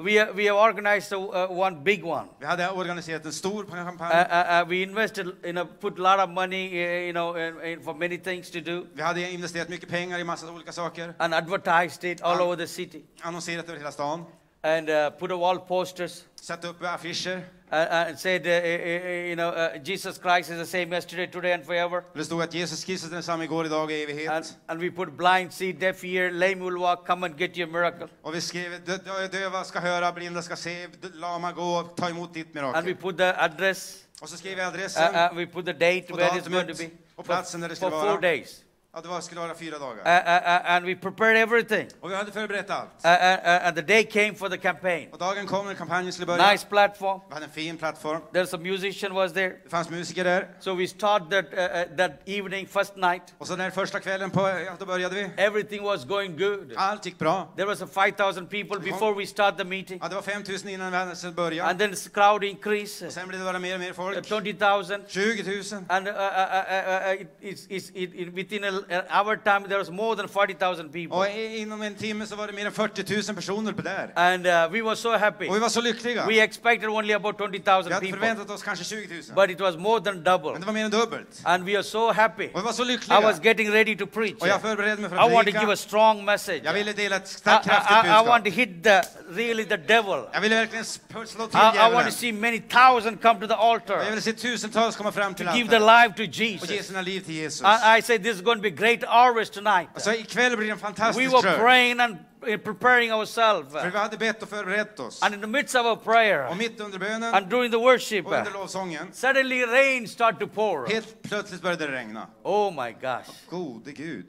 we, uh, we have organized a, uh, one big one. Vi hade organiserat en stor Uh, kampanj. uh, uh, we invested, you know, put a lot of money, uh, you know, in, in for many things to do, Vi hade investerat mycket pengar i massa olika saker. and advertised it all Um, over the city, Annonserat över hela stan. and uh, put a wall posters. Satt upp affischer. Uh, uh, and said, uh, uh, uh, you know, uh, Jesus Christ is the same yesterday, today, and forever. Det stod att Jesus Kristus är densamme igår, idag och i And, evighet. and we put blind see, deaf ear, lame will walk, come and get your miracle. Och vi skrev "Dö- dö- döva ska höra, blinda ska se, d- lama gå, ta emot ditt And we mirakel. put the address, Och så skrev vi uh, adressen. uh, we put the date Och where it's going to datumet be och for, platsen där det for skulle four vara. days. Ja, det var, skulle vara fyra Uh, uh, dagar. uh, and we prepared everything. Och vi hade förberett allt. Uh, uh, uh, and the day came for the campaign. Och dagen kom när kampanjen skulle börja. Nice platform. Vi hade en fin plattform. There's a musician was there. Det fanns musiker där. So we started that, uh, uh, that evening, first night. Och så den första kvällen på, ja, då började vi. Everything was going good. Allt gick bra. There was a 5,000 people before we start the meeting. Ja, det var 5 000 innan vi hade börjat. And then the crowd Och increases, sen blev det bara mer och mer uh, folk. 20,000. 20 000. And uh, uh, uh, uh, uh, it, it's, it's, it, it, within a, an hour time, there was more than 40,000 people. Och i- inom en timme så var det mer än 40 000 personer på där. And uh, we were so happy. Och vi var så lyckliga. We Vi expected only about hade 20,000 people, förväntat oss kanske 20 000. but it was more than double. Men det var mer än dubbelt. And we are so happy. Och vi var så I was lyckliga. getting ready to preach. Och jag förberedde mig för I want to att give a predika. strong message. Jag I, ville dela ett starkt, kraftigt I, I want budskap. to hit the really the devil. Jag ville verkligen sp- slå till I, I want djävulen. to see many thousand come to the Jag altar ville se tusentals komma fram till to give their life altaret to och Oh, Jesus. ge sina liv till Jesus. I, I say this is going to be great harvest tonight. Och så Alltså, ikväll blir det en We fantastisk were kör. praying and uh, preparing ourselves. För vi hade bett och förberett oss. And in the midst of our prayer Och mitt under bönen and during Oh, the worship, och under lovsången, suddenly rain started to pour. helt plötsligt började det regna. Oh my gosh. Gode Gud.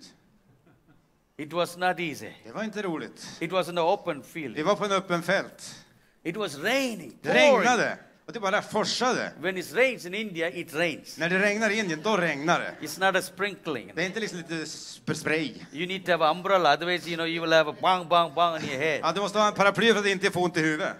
It was not easy. Det var inte roligt. It was in the open field. Vi var på en öppen fält. It was raining. Det pouring. regnade och det bara forsade. When it rains in India, it rains. När det regnar i Indien, då regnar det. It's not a sprinkling. Det är inte liksom lite sp- spray. You need to have an umbrella, otherwise, you know, you will have a bang, bang, bang on your head. Ja, du måste ha en paraply för att inte få ont i huvudet.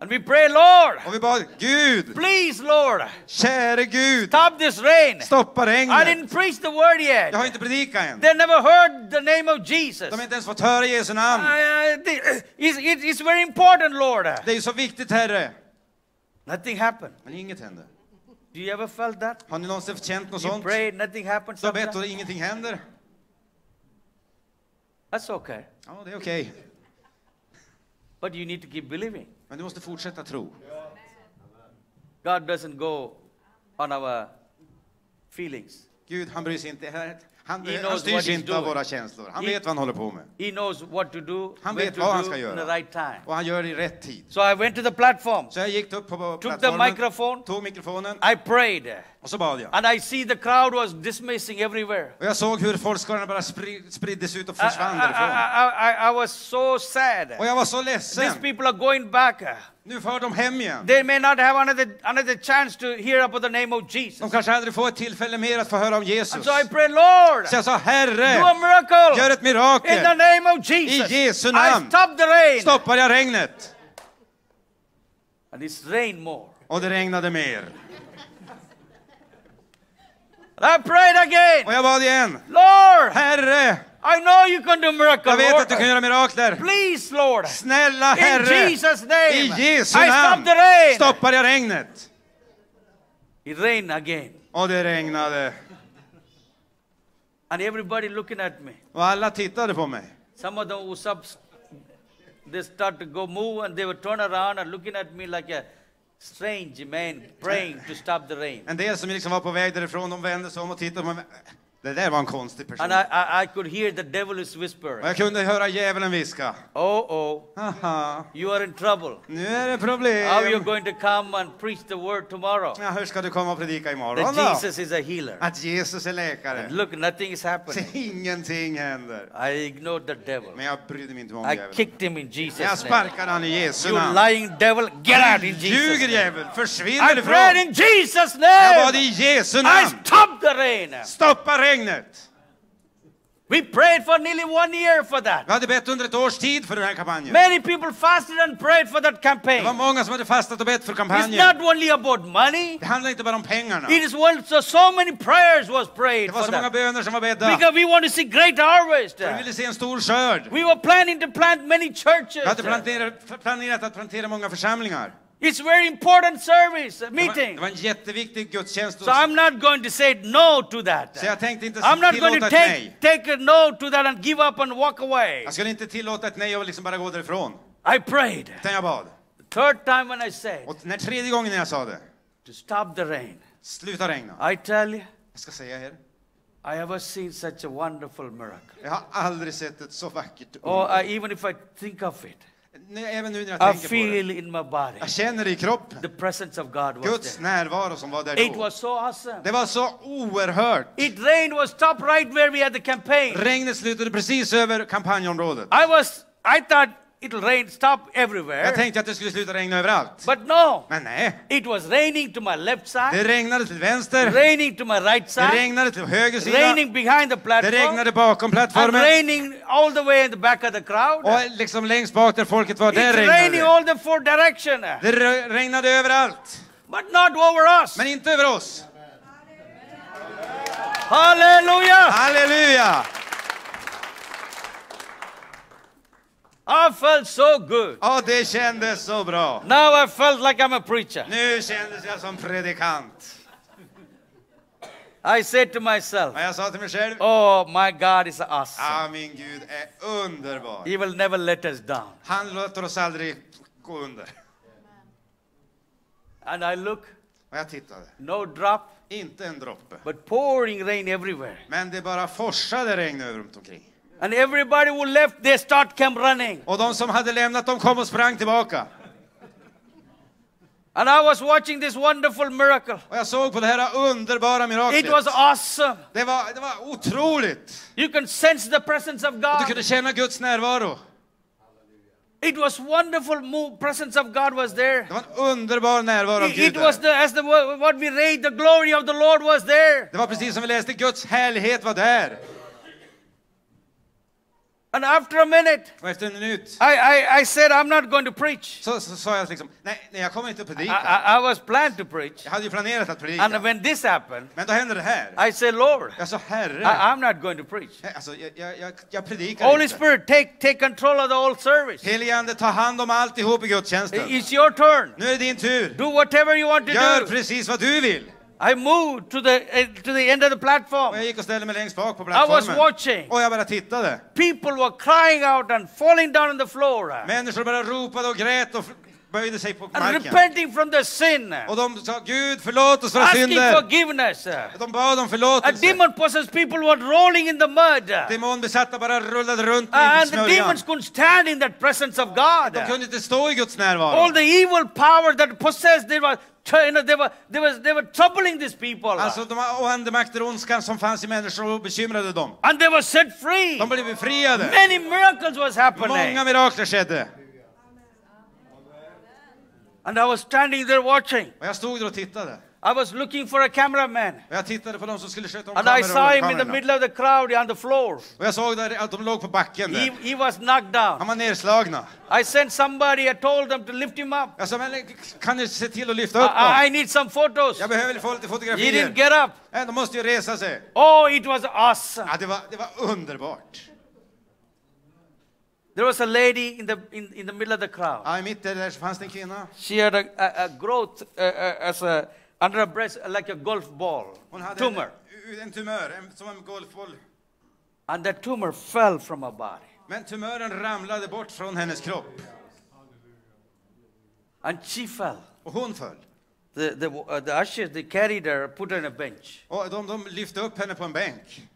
And we pray, Lord, Och vi bad, Gud, please, Lord, käre Gud, stop this rain. stoppa I regnet. didn't preach the word Jag har yet. inte predikat än. They never heard the name of Jesus. De har inte ens fått höra Jesu namn. I- I- the- it's, it- it's very important, Lord. Det är ju så viktigt, Herre. Nothing happened. Men inget hände. Do you ever felt that? Har ni någonsin känt något You sånt? prayed, nothing happened. Du har bett sometimes? och ingenting händer? That's okay. Ja, det är okej. But you need to keep believing. Men du måste fortsätta tro. God doesn't go on our feelings. Gud, han bryr sig inte. Han, han, He han knows what styrs he's inte av doing. våra känslor. Han He- vet vad han håller på med. He knows what to do, Han when vet to vad han do ska in the göra. right time. Och han gör det i rätt tid. So I went to the platform. Så jag gick upp på the plattformen, microphone. tog mikrofonen I prayed. och så bad jag. And I see the crowd was dismissing everywhere. Och jag såg hur folkskarorna bara spri- spriddes ut och I, I, försvann därifrån. I- I- I- I was so Och sad. jag var så These ledsen. people are going back. Nu för de hem igen. They may not have another, another chance to hear about the name of De Jesus. kanske aldrig får ett tillfälle mer att få höra om And Jesus. so I pray, Lord, Så jag sa, do a Herre, gör ett miracle in the mirakel. name of Jesus. Jesu I namn. E stop the rain. Stoppar jag regnet? And it's rain more. Och det regnade mer. And I prayed Och again. jag bad igen. Lord, Herre, I know you can do miracle. jag vet att du kan Lord. göra mirakler. Please, Lord. Snälla In Herre, Jesus' name. i Jesu I stop namn the rain. stoppar jag regnet. It rained again. Och det regnade. And everybody looking at me. Och alla tittade på mig. Some of the Usabs, they start to go move and they would turn around and looking at me like a strange man praying to stop the rain. En del som liksom var på väg därifrån, de vände sig om och tittade på mig. Det där var en konstig And person. I, I, I could hear the devil is Och whispering, jag kunde höra djävulen viska. Oh, oh, Haha, you are in trouble. nu är det How are you problem. going to come and preach the word tomorrow? Ja, hur ska du komma och predika imorgon That då? Jesus is a healer. Att Jesus är läkare. Look, nothing is Så happening. ingenting händer. I ignored the devil. Men jag brydde mig inte om I djävulen. kicked him in Jag Jesus' name. sparkade han i Jesu You namn. lying devil, get out in Jesus' Ljuger name. djävul, försvinn I prayed därifrån. in Jesus' Jag bad i name. Jesu I namn. stopped the rain. Stoppa regnet. We prayed for nearly one year for that. Vi hade bett under ett års tid för den här kampanjen. Many people fasted and prayed for that Det var campaign. många som hade fastat och bett för It's kampanjen. not only about money. Det handlade inte bara om pengarna. It is one, so, so many prayers was Det prayed var for så många that. böner som var bedda. Because we want to see great harvest. Vi ville se en stor skörd. We were planning to plant many churches. Vi hade planterat, planerat att plantera många församlingar. It's very important service, Det var, det meeting. var en jätteviktig gudstjänst. So I'm not going to say no to Så jag that. tänkte inte I'm not going tillåta to ett take, nej. take a no to that and give up and walk away. Jag skulle inte tillåta ett nej och liksom bara gå därifrån. I prayed. Utan jag bad. The third time when I said Och när tredje gången när jag sa det. to stop the rain, Sluta regna. I tell you, Jag ska säga er. I ever seen such a wonderful miracle. Jag har aldrig sett ett så vackert Or under. I, even if I think of it, Nu- Även nu när jag I tänker på det. feel in my body Jag känner det i kroppen. the presence of God was Guds there. närvaro som var där It då. was so awesome. Det var så oerhört. It rained was stopped right where we had the campaign. Regnet slutade precis över kampanjområdet. I was, I thought it'll rain, stop Jag everywhere. tänkte att det skulle sluta regna överallt. But no, Men nej, it was raining to my left side, det regnade till vänster, raining to my right det side, regnade till höger sida, raining behind the det platform, regnade bakom and plattformen raining all the way in the back of the crowd. och liksom längst bak där folket var, där It's raining regnade all the four directions, det. Det re- regnade överallt, but not over us. men inte över oss. Hallelujah! Halleluja! I felt so good. Ja, det kändes så bra. Now I felt like I'm a preacher. Nu kändes jag som predikant. I said to myself, Men jag sa till mig själv, Oh, my God is awesome. ah, min Gud är underbar. He will never let us down. Han låter oss aldrig gå under. And I look, Och jag tittade, no drop, inte en droppe. but pouring rain everywhere. Men det bara forsade regn över runt omkring. And everybody who left, they start came running. Och de som hade lämnat, de kom och sprang tillbaka. And I was watching this wonderful miracle. Och jag såg på det här underbara miraklet. It was awesome. Det var, det var otroligt! You can sense the presence of Och du God. kunde känna Guds närvaro. It was wonderful move. Presence of God was there. Det var en underbar närvaro av It, it Gud was där. the, as the what we read, the glory of the Lord was there. Det var precis som vi läste, Guds härlighet var där. And after a minute, Och efter en minut I, I, I said, I'm not going to preach. så, så sa jag liksom, nej, nej jag kommer inte att I, predika. I, I was planned to preach. Jag hade ju planerat att predika. And when this happened, Men då händer det här. I say, Lord, Jag sa, Herre, I, I'm not going to preach. nej, alltså, jag, jag, jag, jag predikar Holy inte. Spirit, take, take control of the whole service. Helige Ande, ta hand om alltihop i gudstjänsten. It's your turn. Nu är det din tur. Do whatever you want to Gör do. precis vad du vill. I moved to the, eh, to the end of the Och jag platform. gick och ställde mig längst bak på I was plattformen. watching. Och jag bara tittade. People were crying out and falling down on the floor and Människor bara ropade och grät och f- böjde sig på marken. repenting from their sin, Och de sa Gud förlåt oss våra asking synder. forgiveness. De bad om A förlåtelse. demon possessed people were rolling in the mud. Uh, Demonbesatta bara rullade runt i And the smörjan. demons couldn't stand in that presence of De God. kunde inte stå i Guds All närvaro. the evil power that possessed, they were, you know, they were, they were, they were troubling these people. Alltså de och andemakter och ondskan som fanns i människor och bekymrade dem. And they were set free. De blev befriade. Many miracles was Många happening. mirakler skedde. And I was standing there watching. Och jag stod där och tittade. I was looking for a cameraman. Och jag tittade på de som skulle sköta om And I saw him in the kamerorna. middle of the crowd on the floor. Och jag såg där att de låg på backen He, där. he was knocked De down. var nerslagna. I sent somebody, I told them to lift him up. Jag sa, men kan ni se till att lyfta I, upp dem? I- I need some photos. Jag behöver få lite He didn't fotografier. get up. Nej, de måste ju resa sig. Oh, it was awesome. Ja, det, var, det var underbart. There was a lady in the, in, in the middle of the crowd. Ja, I mitten där så fanns det en kvinna. She had a, a, a growth uh, uh, as a, under her breast like a golf ball, Hon hade tumor. En, en tumör, en, som en golfboll. And the tumor fell from her body. Men tumören ramlade bort från hennes kropp And she fell. och hon föll. The, the, uh, the ushers, they carried her, put her on a bench. Och de, de lyfte upp henne på en bänk.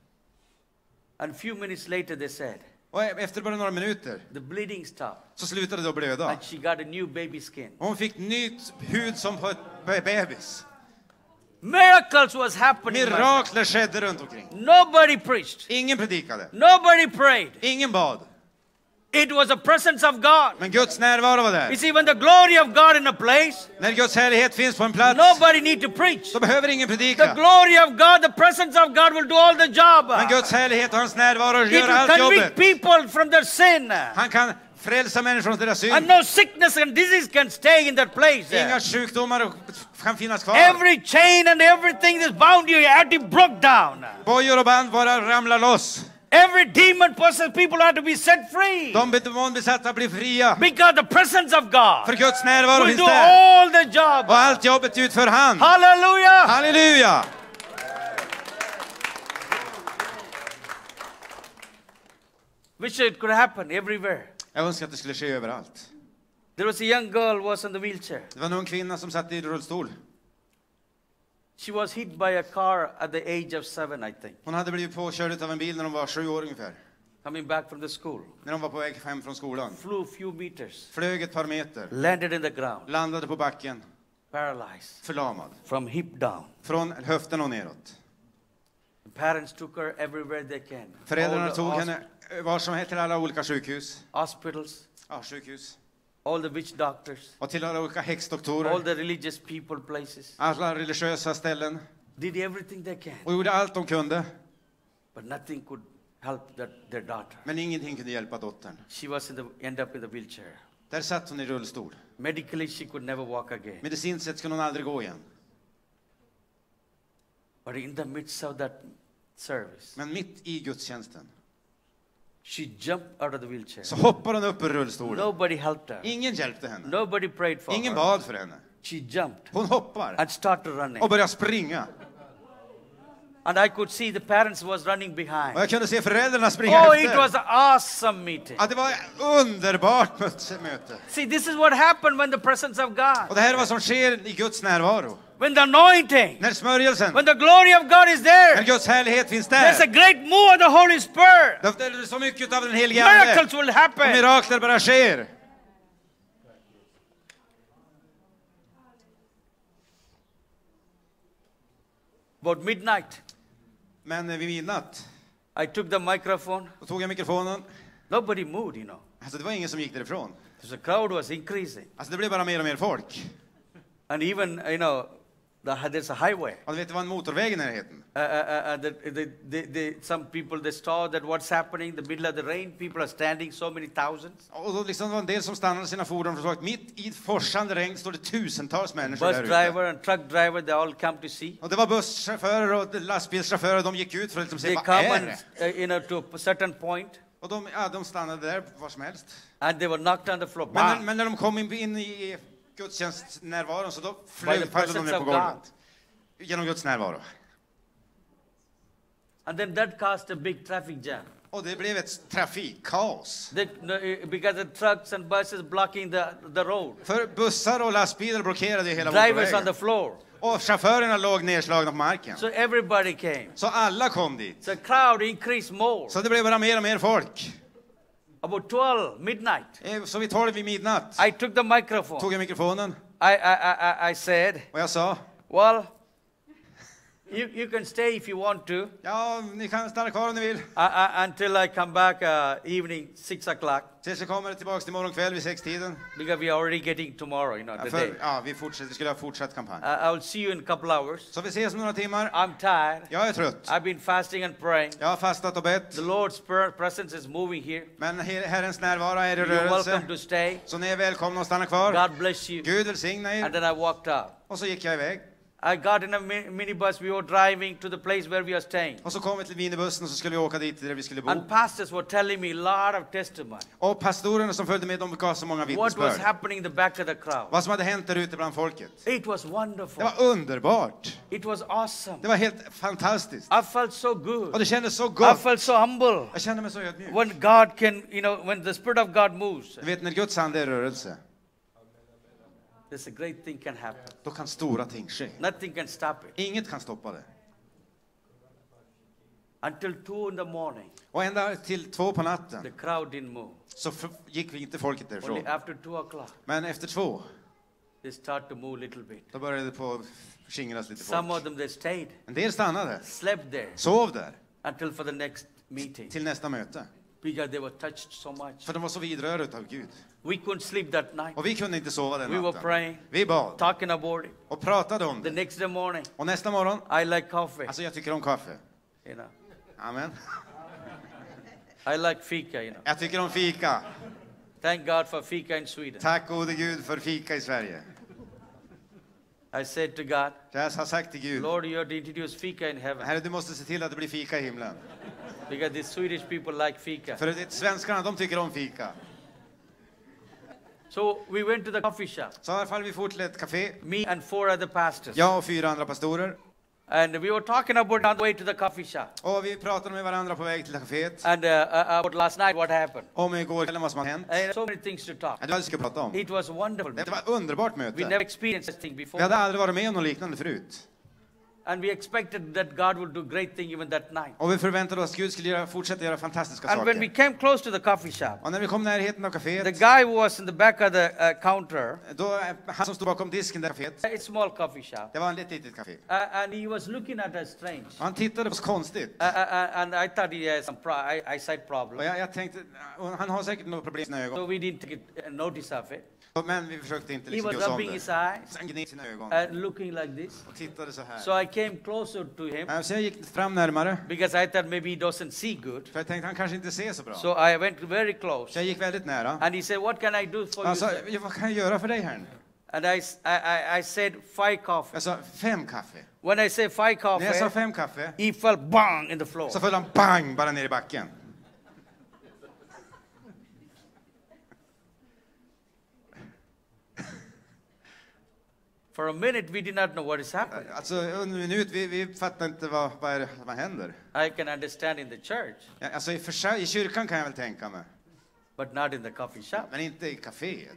And few minutes later, they said, Och e- efter bara några minuter the bleeding stopped. så slutade det att blöda. And she got a new baby skin. Och hon fick nytt hud som på ett be- bebis. Miracles was happening. my friend. Mirakler skedde runt omkring. Nobody preached. Ingen predikade. Nobody prayed. Ingen bad. It was the presence of God. Men Guds närvaro var You där. see, when the glory of God in a place, När Guds härlighet finns på en plats nobody need to preach. så behöver ingen The predika. glory of God, the presence of God will do all the job. Men Guds härlighet och hans närvaro It gör will allt convict jobbet. people from their sin. Han kan frälsa människor från deras And synd. no sickness and disease can stay in that place. Inga sjukdomar kan finnas kvar. Every chain and everything that's bound you, you had to be broke down. Bojor och band bara ramlar loss. Every demon possessed people had to be set free. De demonbesatta blir fria. Because the presence of För God Guds närvaro will finns do där. all the job. Och allt jobbet utför han. Hallelujah. Halleluja! Wish it could happen everywhere. Jag önskar att det skulle ske överallt. There was a young girl who was in the wheelchair. Det var en ung kvinna som satt i rullstol. She was hit by a car at the age of seven, I think, Hon hade blivit påkörd av en bil när hon var sju år ungefär. coming back from the school. När hon var på väg hem från skolan. Flew a few meters, Flög ett par meter. landed in the ground, Landade på backen. paralyzed Förlamad. from hip down. Från höften och neråt. The parents took her everywhere they can. Föräldrarna All the tog hos- henne eh, var som helst till alla olika sjukhus. Hospitals, Ja, sjukhus. all the witch doctors, Och till alla olika all häxdoktorer. the religious people places. Alla religiösa ställen. Did everything they can, Och gjorde allt de kunde. but nothing could help their, their daughter. Men ingenting kunde hjälpa dottern. She was in the, end up in the wheelchair. Där satt hon i rullstol. Medically, she could never walk again. Medicinskt sett skulle hon aldrig gå igen. But in the midst of that service, Men mitt i gudstjänsten she jumped out of the wheelchair. så hoppar hon upp ur rullstolen. Nobody helped her. Ingen hjälpte henne. Nobody prayed for Ingen her. bad för henne. She jumped Hon hoppar and started running. och börjar springa. And I could see the parents was running Och behind. jag kunde se föräldrarna springa Oh, it was efter. an awesome meeting. Ja, det var ett underbart mö- möte. See, this is what happened when the presence of Och God, det här är vad som sker i Guds närvaro. when the anointing, När smörjelsen, when the glory of God is när there, Guds härlighet finns there's a där. great move of the Holy Spirit. Då är det så mycket av den helige Ande. Miracles will Och happen. mirakler bara sker. About midnight, Men eh, vid midnatt, I took the microphone. då tog jag mikrofonen. Nobody moved, you know. Alltså det var ingen som gick därifrån. The crowd was increasing. Alltså det blev bara mer och mer folk. And even, you know, the, there's a highway. Och du vet, det var en motorväg i närheten. Uh, uh, uh, uh, the, the, the, the, some people they saw that what's happening the middle of the rain people are standing so many thousands Och då liksom var en del som stannade sina fordon för att mitt i forsande regn står det tusentals människor bus där ute. driver and truck driver they all come to see Och det var busschaufförer och lastbilschaufförer, de gick ut för att liksom they se vad come är and det? uh, you know to a certain point Och de, ja, de stannade där var som helst. and they were knocked on the floor Men, Bam! men när de kom in, in i gudstjänstnärvaron så då By flög the föll de presence ner of på golvet. Genom Guds närvaro. and then that caused a big traffic jam Och det blev ett trafikkaos. they, no, uh, because the trucks and buses blocking the, the road För bussar och lastbilar blockerade hela drivers on the motorvägen. floor Och chaufförerna låg nedslagna på marken. so everybody came Så alla kom dit. so crowd increased more Så det blev bara mer och mer folk. about 12 midnight Eh, Så vid tolv vid midnatt i took the microphone tog jag mikrofonen I, I, I, I- I said och jag sa Well, you, you can stay if you want to Ja, ni kan stanna kvar om ni vill. uh, uh, until I come back uh, evening, 6 o'clock, Tills vi kommer tillbaka imorgon kväll vid sextiden. because we are already getting tomorrow, you know, Ja, the day. för, ja, vi, fortsätter, vi skulle ha fortsatt kampanj. Uh, I'll see you in a couple hours. Så vi ses om några timmar. I'm tired. Jag är trött. I've been fasting and praying. Jag har fastat och bett. The Lord's per- presence is moving here. Men Her- Herrens närvaro är i You're welcome rörelse. to stay. Så ni är välkomna att stanna kvar. God bless you. Gud välsigna And er. then I walked out. Och så gick jag iväg. I got in a mi- minibus. We were driving to the place where we are staying. Och så kom vi till minibussen och så skulle vi åka dit där vi skulle bo. And pastors were telling me a lot of testimony. Och pastorerna som följde med, de gav så många What was vittnesbörd. happening in the back of the crowd. Vad som hade hänt där ute bland folket. It was Det wonderful. var underbart. It was awesome. Det var helt fantastiskt. I felt so Och good. det kändes så I gott. felt so humble. Jag kände mig så ödmjuk. When God can, you know, when the Spirit of God moves, Du vet, när Guds ande är i rörelse, there's a great thing can happen. då kan stora ting ske. Nothing can stop it. Inget kan stoppa det. Until 2 in the morning, Och ända till två på the natten crowd didn't move. så f- gick vi inte folket Only därifrån. after 2 o'clock, Men efter två, they start to move a little bit. då började det på skingras lite Some folk. of them, they stayed, En del stannade, slept there sov där, until for the next meeting till nästa möte. because they were touched so much. För de var så vidrörda utav Gud. We couldn't sleep that night, Och vi kunde inte sova We den were natten. praying. Vi bad talking about it. och pratade om The det. next day morning, Och nästa morgon, I like coffee, alltså jag tycker om kaffe. you know. Amen. I like fika, you know. Jag tycker om fika. Thank God for fika in Sweden. Tack gode Gud för fika i Sverige. I said to God, Så jag har sagt till Gud, Lord, you have to introduce fika in heaven Herre du måste se till att det blir fika i himlen. because the Swedish people like fika. För det- svenskarna, de tycker om fika. So we went to the coffee shop, Så i alla fall vi for till ett café. me and four other pastors. Jag och fyra andra pastorer. And we were talking about on the way to the coffee shop Och vi pratade med varandra på väg till caféet. and uh, uh, about last night what happened. Om igår kvällen vad som har hänt. And so many things to talk. Ja, Det var det vi skulle prata om. It was wonderful. Det var ett underbart We möte. never experienced this thing Vi hade before. aldrig varit med om något liknande förut. And we expected that God would do great thing even that night. Och vi förväntade oss att Gud skulle göra, fortsätta göra fantastiska And when we saker. came close to the coffee shop, Och när vi kom i närheten av the kaféet, guy who was in the back of the uh, counter, då, han som stod bakom disken där i kaféet, a small coffee shop, det var en litet, litet kafé. uh, and he was looking at us strange. Och han tittade på oss konstigt. Uh, uh, uh, and I thought he had some pro- eye- eyesight Och problem. jag, jag tänkte, och han har säkert något problem med sina ögon. So we didn't take it, uh, notice of it. Men vi försökte inte He liksom was bry oss om rubbing his det. eyes Så Han gned sina ögon and looking like this. och tittade så So här. I came closer to him Ja, Så jag gick fram närmare, because I thought maybe he doesn't see good. för jag tänkte han kanske inte ser så bra. So I went very close. Så jag gick väldigt nära. And he said, What can I do for you? Han sa, sir?" "Ja, vad kan jag göra för dig här nu? And I, s- I- I- I said, Five coffee. Jag sa, fem kaffe. When I say five När jag sa coffee, fem kaffe, he fell bang in the floor. så föll han bang bara ner i backen. For a minute, we did not know what is happening. Alltså, under en minut, vi, vi fattar inte vad, vad är det som händer. I can understand in the church, Ja, Alltså, i, försä- i kyrkan kan jag väl tänka mig, but not in the coffee shop. men inte i kaféet.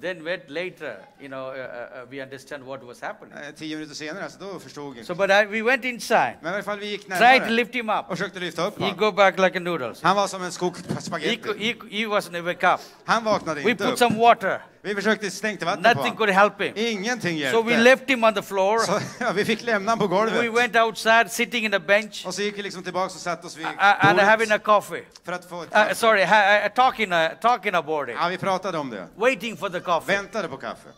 Then wait later, you know, uh, uh, uh, we understand what was happening. Eh, Tio minuter senare, alltså, då förstod jag. So, but I, we went inside, Men i alla fall, vi gick tried to närmare lift him och up. försökte lyfta upp He honom. go back like a noodles. Han var som en skog He, cou- spagetti. he, he was never up. Han vaknade We inte put upp. some water. Vi försökte stänka vatten på Nothing honom. could help him. Ingenting So we hjälpte. left him on the floor. Så, ja, vi fick lämna honom på We golvet. went outside, sitting in a bench, Och så gick vi liksom tillbaka och satte oss vid uh, and having bordet a coffee. för att få ett Uh, kaffe. sorry, ha, uh, talking, uh, talking about it, Ja, vi pratade om det. waiting for the coffee. Väntade på kaffe.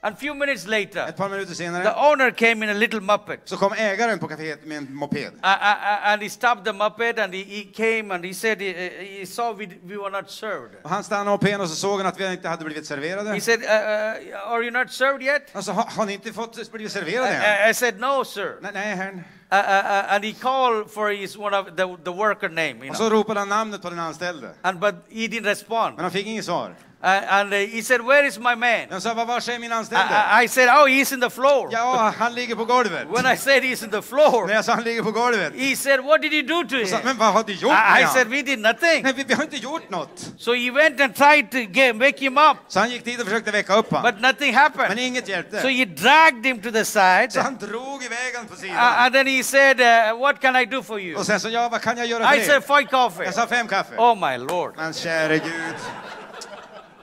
And few minutes later, Ett par minuter senare the owner came in a little muppet. så kom ägaren på kaféet med en moped. Uh, uh, uh, and he stopped the Muppet and he, he came and he said, he, uh, he saw we, we were not served. Och han stannade upp igen och så såg han att vi inte hade blivit serverade. He said, uh, uh, Are you not served yet? Alltså, har, har ni inte fått blivit serverade än? I, I said, No, sir. Nej, nej herrn. Uh, uh, uh, and he called for his one of the, the worker name, you Och know. så ropade han namnet på den anställde. And, but he didn't respond. Men han fick inget svar. Uh, and uh, he said, Where is my man? I, Jag sa, vad var är min anställde? I, I said, Oh, he's in the floor. Ja, han ligger på golvet. When I said he's in the floor, När jag sa han ligger på golvet. he said, What did you do to Jag sa, him? men vad har du gjort Ah, I, I med said, han? We did nothing. Nej, vi, vi har inte gjort något. So he went and tried to get, wake him up, Så han gick dit och försökte väcka upp honom. but nothing Men happened. inget So hjälpte. he dragged him to the side. Så han drog iväg honom på Uh, sidan. and then he said, uh, What can I do for you? Och sen så, ja, vad kan jag göra för I said, dig? Five coffee. Jag sa fem kaffe. Oh my lord. Men käre Gud.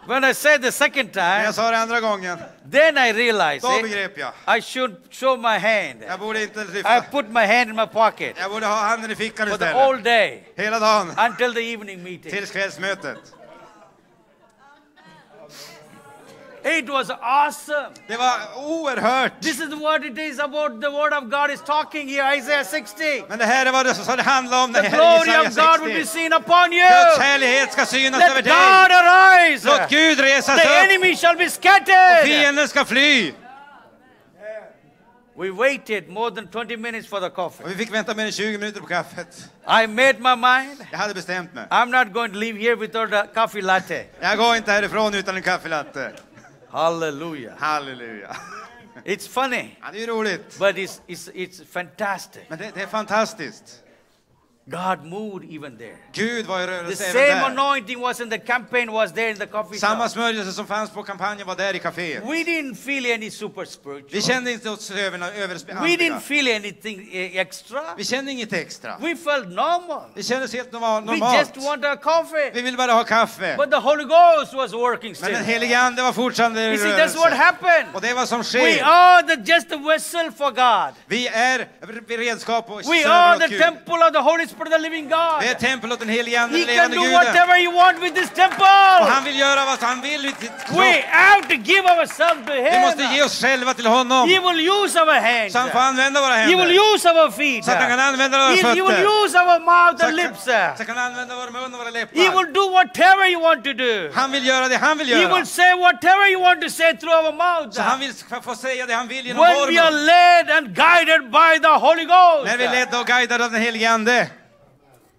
When I said the second När time, jag sa det andra gången, then I realized då eh, begrep jag. I should show my hand. Jag borde inte I lyfta. put my hand in my pocket Jag borde ha handen i fickan for the whole istället. day Hela dagen. until the evening meeting. Tills kvällsmötet. It was awesome. Det var oerhört. This is what it is about the word of God is talking here, Isaiah 60. Men det här är vad det som det handlar om när The glory Jesaja of God will be 60. seen upon you. Guds härlighet ska synas över Let dig. God arise. Låt The Gud resa sig upp. enemy shall be scattered. Fienden ska fly. We waited more than 20 minutes for the coffee. Och vi fick vänta mer än 20 minuter på kaffet. I made my mind. Jag hade bestämt mig. I'm not going to leave here without a coffee latte. Jag går inte härifrån utan en kaffelatte. Hallelujah. Halleluja. It's funny, Ja, det är ju roligt. but it's, it's, it's fantastic. Men det, det är fantastiskt. God moved even there. Gud var i The rörelse same även där. anointing was in the campaign, was there in the coffee Samma shop. smörjelse som fanns på kampanjen var där i kaféet. We didn't feel any super Vi spiritual. kände inte oss över- We didn't överandliga. feel anything eh, extra. Vi kände inget extra. We felt normal. Vi kändes helt norma- We just normalt. want our coffee. Vi ville bara ha kaffe. But the Holy Ghost was working Men den still. helige Ande var fortfarande i You see, that's what rörelse. Och happened. det är vad som We sker. are the, just the vessel for God. Vi är redskap och We server are åt the Gud. temple of the Holy Spirit of the living Vi är God. tempel åt den helige Ande, He den can levande do Guden. whatever He wants with this Och temple. han vill göra vad han vill i sitt We kropp. have to give ourselves to Vi måste ge Him. oss själva till He honom. will use our hands. Så han får använda våra He will händer. use our feet. Så att han kan använda våra He, he fötter. will use our mouth Så and han kan- lips. Så han kan använda vår mun och våra He läppar. will do whatever you want to do. Han vill göra det han vill He göra. will say whatever you want to say through our mouth. Så han vill få säga det han vill genom When vår we are mun. led and guided by the Holy När vi är Ghost. ledda och guidade av den helige Ande.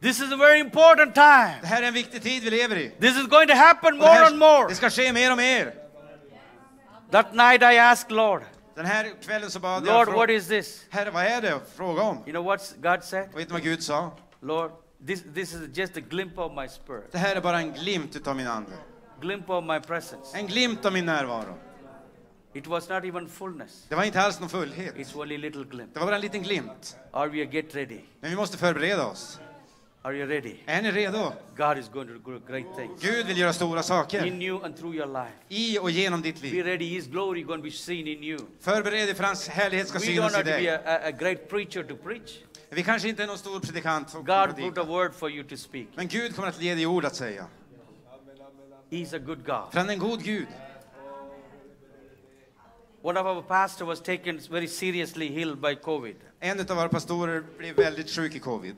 This is a very important time. Det här är en viktig tid vi lever i. This is going to happen Och det, more and här, more. det ska ske mer och mer. That night I asked Lord, Den här kvällen så bad jag, Lord, what frå- is this? Herre vad är det? Fråga om. You know what God said? Och vet ni vad Gud sa? Lord, this, this is just a glimpse of my spirit, Det här är bara en glimt utav min ande. glimpse of my presence. En glimt av min närvaro. It was not even fullness. Det var inte alls någon fullhet. It's only little glimpse. Det var bara en liten glimt. Are we get ready? Men vi måste förbereda oss. Are you ready? Är ni redo? God is going to do great things Gud vill göra stora saker. in you and through your life. I och genom ditt Be liv. ready. His glory going to be seen in you. Förbered dig för hans härlighet ska We don't synas i have to be dig. a, a- a great preacher to preach. Vi kanske inte är någon stor predikant. och God predikar. put a word for you to speak. Men Gud kommer att ge dig ord att säga. He's a good God. För han är en god Gud. One of our pastor was taken very seriously ill by COVID. En av våra pastorer blev väldigt sjuk i covid.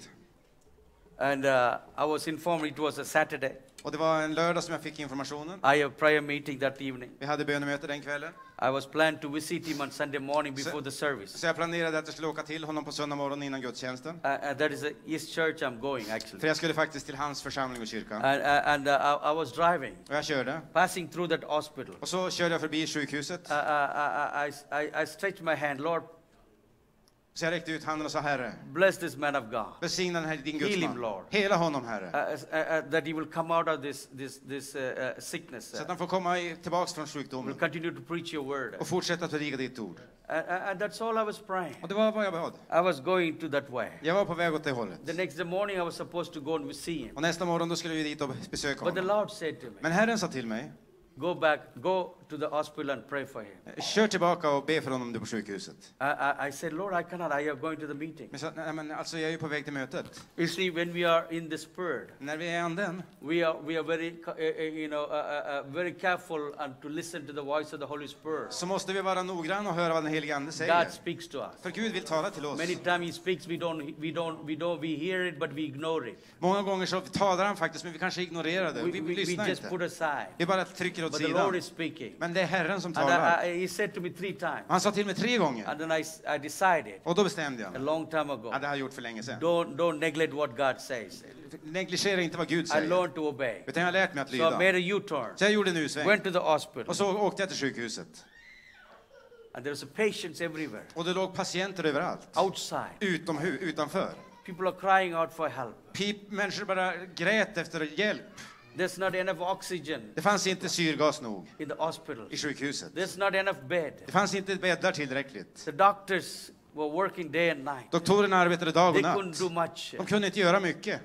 And uh, I was informed it was a Saturday. Och det var en lördag som jag fick informationen. I have prayer meeting that evening. Vi hade bönemöte den kvällen. I was planned to visit him on Sunday morning before the service. Så jag planerade att jag skulle åka till honom på söndag morgon innan gudstjänsten. Uh, uh, that is a East Church I'm going För actually. jag skulle faktiskt till hans församling och kyrkan. And, uh, and uh, I, I was driving, Och jag körde. passing through that hospital. Och så körde jag förbi sjukhuset. Uh, uh, I, I, I stretched my hand, Lord, Så jag räckte ut handen och sa Herre, bless this man of God. välsigna den här din Heal him, gudsman. Lord. Hela honom Uh, Herre. uh, uh, that he will come out of this, this, this uh, uh, sickness. Så att Uh, han får komma i- tillbaks från will sjukdomen continue to preach your word. och fortsätta att predika ditt ord. Uh, uh, and that's all I was praying. Och det var vad jag bad. I was going to that way. Jag var på väg åt det hållet. The next morning I was supposed to go and see him. Och nästa morgon då skulle vi dit och besöka But the honom. Lord said to me, Men Herren sa till mig, Go back, go to the hospital and pray for him. kör tillbaka och be för honom du på sjukhuset. I, I, I said, Lord, I cannot. I am going to the meeting. Men, så, nej, men alltså jag är ju på väg till mötet. You see, when we are in the spirit, När vi är i anden we are we are very ca- eh, eh, you know uh, uh, uh, very careful and to listen to the voice of the Holy Spirit. så måste vi vara noggranna och höra vad den helige Ande säger. God speaks to us. För Gud vill tala till oss. Many times He speaks, we don't we don't we don't we hear it, but we ignore it. Många gånger så talar han faktiskt, men vi kanske ignorerar det. We, Vi, we, we lyssnar just put inte. aside. Vi bara trycker åt But the Lord sidan. is speaking. Men det är Herren som And I, talar. I, He said to me three times, Han sa till mig tre gånger. and then I, s- I decided Och då bestämde jag a mig. long time ago. Ja, det har jag gjort för länge sedan. Don't don't neglect what God says. Negligera inte vad Gud I säger. learned to obey. Utan jag har lärt mig att So I lyda. made a U-turn, Så jag gjorde en U-sväng. went to the hospital, Och så åkte jag till sjukhuset. and there was patients everywhere, Och det låg patienter överallt. outside. Utomhus, utanför. People are crying out for help. Pip, människor bara grät efter hjälp. There's not enough oxygen Det fanns inte syrgas nog in the hospital. i sjukhuset. There's not enough bed. Det fanns inte bäddar tillräckligt. The doctors were working day and night. Doktorerna arbetade dag They och couldn't natt. do much. De kunde inte göra mycket.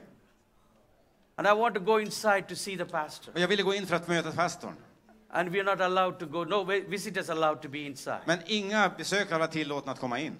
And I want to go inside to see the pastor. Och jag ville gå in för att möta pastorn. And we're not allowed to go. No vi- visitors allowed to be inside. Men inga besökare var tillåtna att komma in.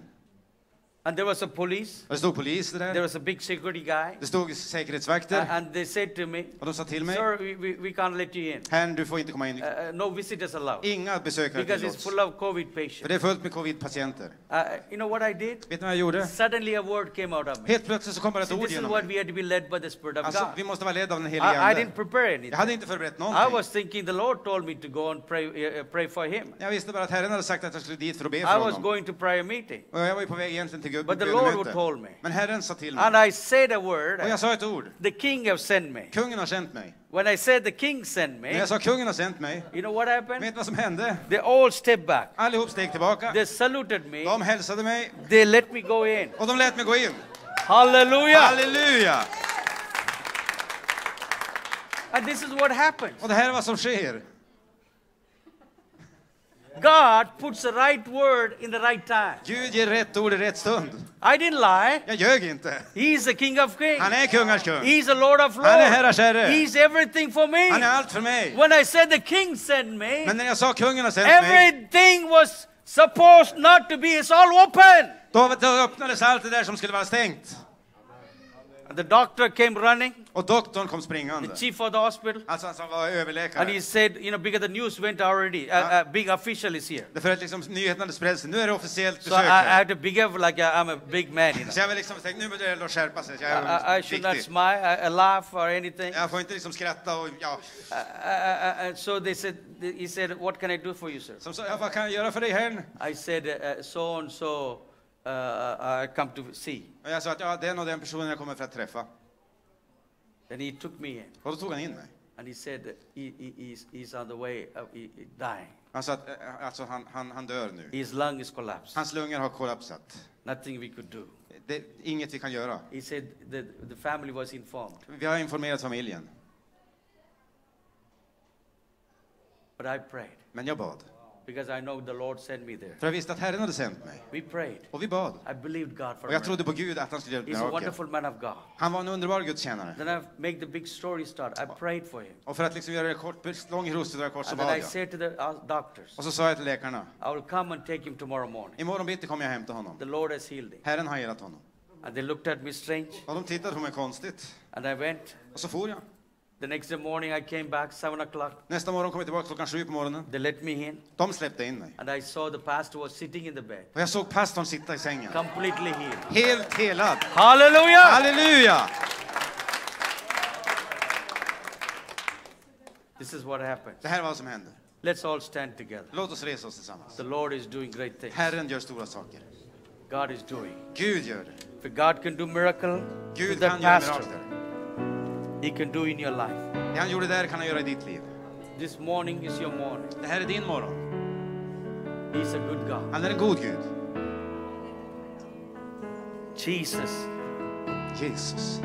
And there was a police. Och det stod poliser There där. was a big security guy. Det stod A- säkerhetsvakter. And they said to me, Och de sa till mig, Sir, we, we, we can't let you in. Herrn, du får inte komma in. Uh, Uh, no visitors allowed. Inga besökare Because it's tillåts. full of COVID För patients. det är fullt med covid-patienter. Uh, you know what I did? Vet ni vad jag gjorde? Suddenly a word came out of me. Helt plötsligt så kom bara ett See, ord this is genom what mig. we had to be led by the Spirit of Alltså, God. vi måste vara ledda av den helige I, I didn't Ande. prepare Jag anything. hade inte förberett I någonting. was thinking the Lord told me to go and pray, uh, pray for him. Jag visste bara att Herren hade sagt att jag skulle dit för att be I för was honom. going to prayer meeting. Och jag var ju på väg egentligen till Gud But the Lord told bönemöte. me. Men Herren sa till mig. And I said a word. Och jag sa ett ord. The king have sent me. Kungen har sänt mig. When I said the king sent När me, jag sa kungen har sänt mig, you know what vet happened? ni vad som hände? They all stepped back. Allihop steg tillbaka. They saluted me. De hälsade mig They let me go in. och de lät mig gå in. Hallelujah. Halleluja! And this is what happens. Och det här är vad som sker. God puts the right word in the right time. Gud ger rätt ord i rätt stund. I didn't lie. Jag ljög inte. He is the King of Kings. Han är kungars kung. He's the Lord of Han är Lords. herrars herre. He's everything for me. Han är allt för mig. When I said the King sent me, Men när jag sa kungen har sänt mig, everything was supposed not to be. It's all open. då då öppnades allt det där som skulle vara stängt. And the doctor came running, Och doktorn kom the springande. chief of the hospital, Alltså han som var and he överläkare. said, you know, because the news went already, uh, uh, big official is here. Därför att liksom nyheten hade spritt sig. Nu är det officiellt So I, I besök här. have to behave like I, I'm a big man, you know. Så jag var liksom tänkt, nu börjar det att skärpa sig. Jag I, I- I är liksom should not viktig. smile, I, I laugh or anything. Jag får inte liksom skratta och ja. Uh, uh, uh, uh, so they said, he said, what can I do for you, sir? Som sa, ja, vad kan jag göra för dig här? I said, uh, so and so, uh, I come to see. Och jag sa att ja, den och den personen jag kommer för att träffa. Then he took me in Och då tog han in mig. and he said, he, he, he's, he's on the way of he, he dying. Han sa att eh, alltså, han, han, han dör nu. His lung is collapsed. Hans lungor har kollapsat. Nothing we could do. Det är inget vi kan göra. He said the, the family was informed, Vi har informerat familjen. but I prayed Men jag bad. because I know the Lord sent me there. För jag visste att Herren hade sänt mig. We prayed. Och vi bad. I believed God for Och jag a trodde på Gud att han skulle miracle. He's a hjälpa mig. wonderful man of God. Han var en underbar gudstjänare. Then I make the big story start. I prayed for him. Och för att liksom göra det kort, lång historia dra kort så And then I bad jag. said to the uh, doctors, Och så sa jag till läkarna. I will come and take him tomorrow morning. Imorgon bitti kommer jag hämta honom. The Lord has healed him. Herren har helat honom. And they looked at me strange. Och de tittade på mig konstigt. And I went. Och så for jag. The next day morning, I came back, 7 o'clock. Nästa morgon kom jag tillbaka klockan sju på morgonen. They let me in. De släppte in mig. And I saw the pastor was sitting in the bed, Och jag såg pastorn sitta i sängen. completely healed. Helt helad. Hallelujah! Halleluja! This is what happened. Det här var vad som hände. Let's all stand together. Låt oss resa oss tillsammans. The Lord is doing great things. Herren gör stora saker. God is doing. Gud gör det. If God can do miracle with Gud that kan göra pastor, mirakler. He can do in your life. Det han gjorde där kan han göra i ditt liv. This morning is your morning. Det här är din morgon. He's a good God. Han är en god Gud. Jesus Jesus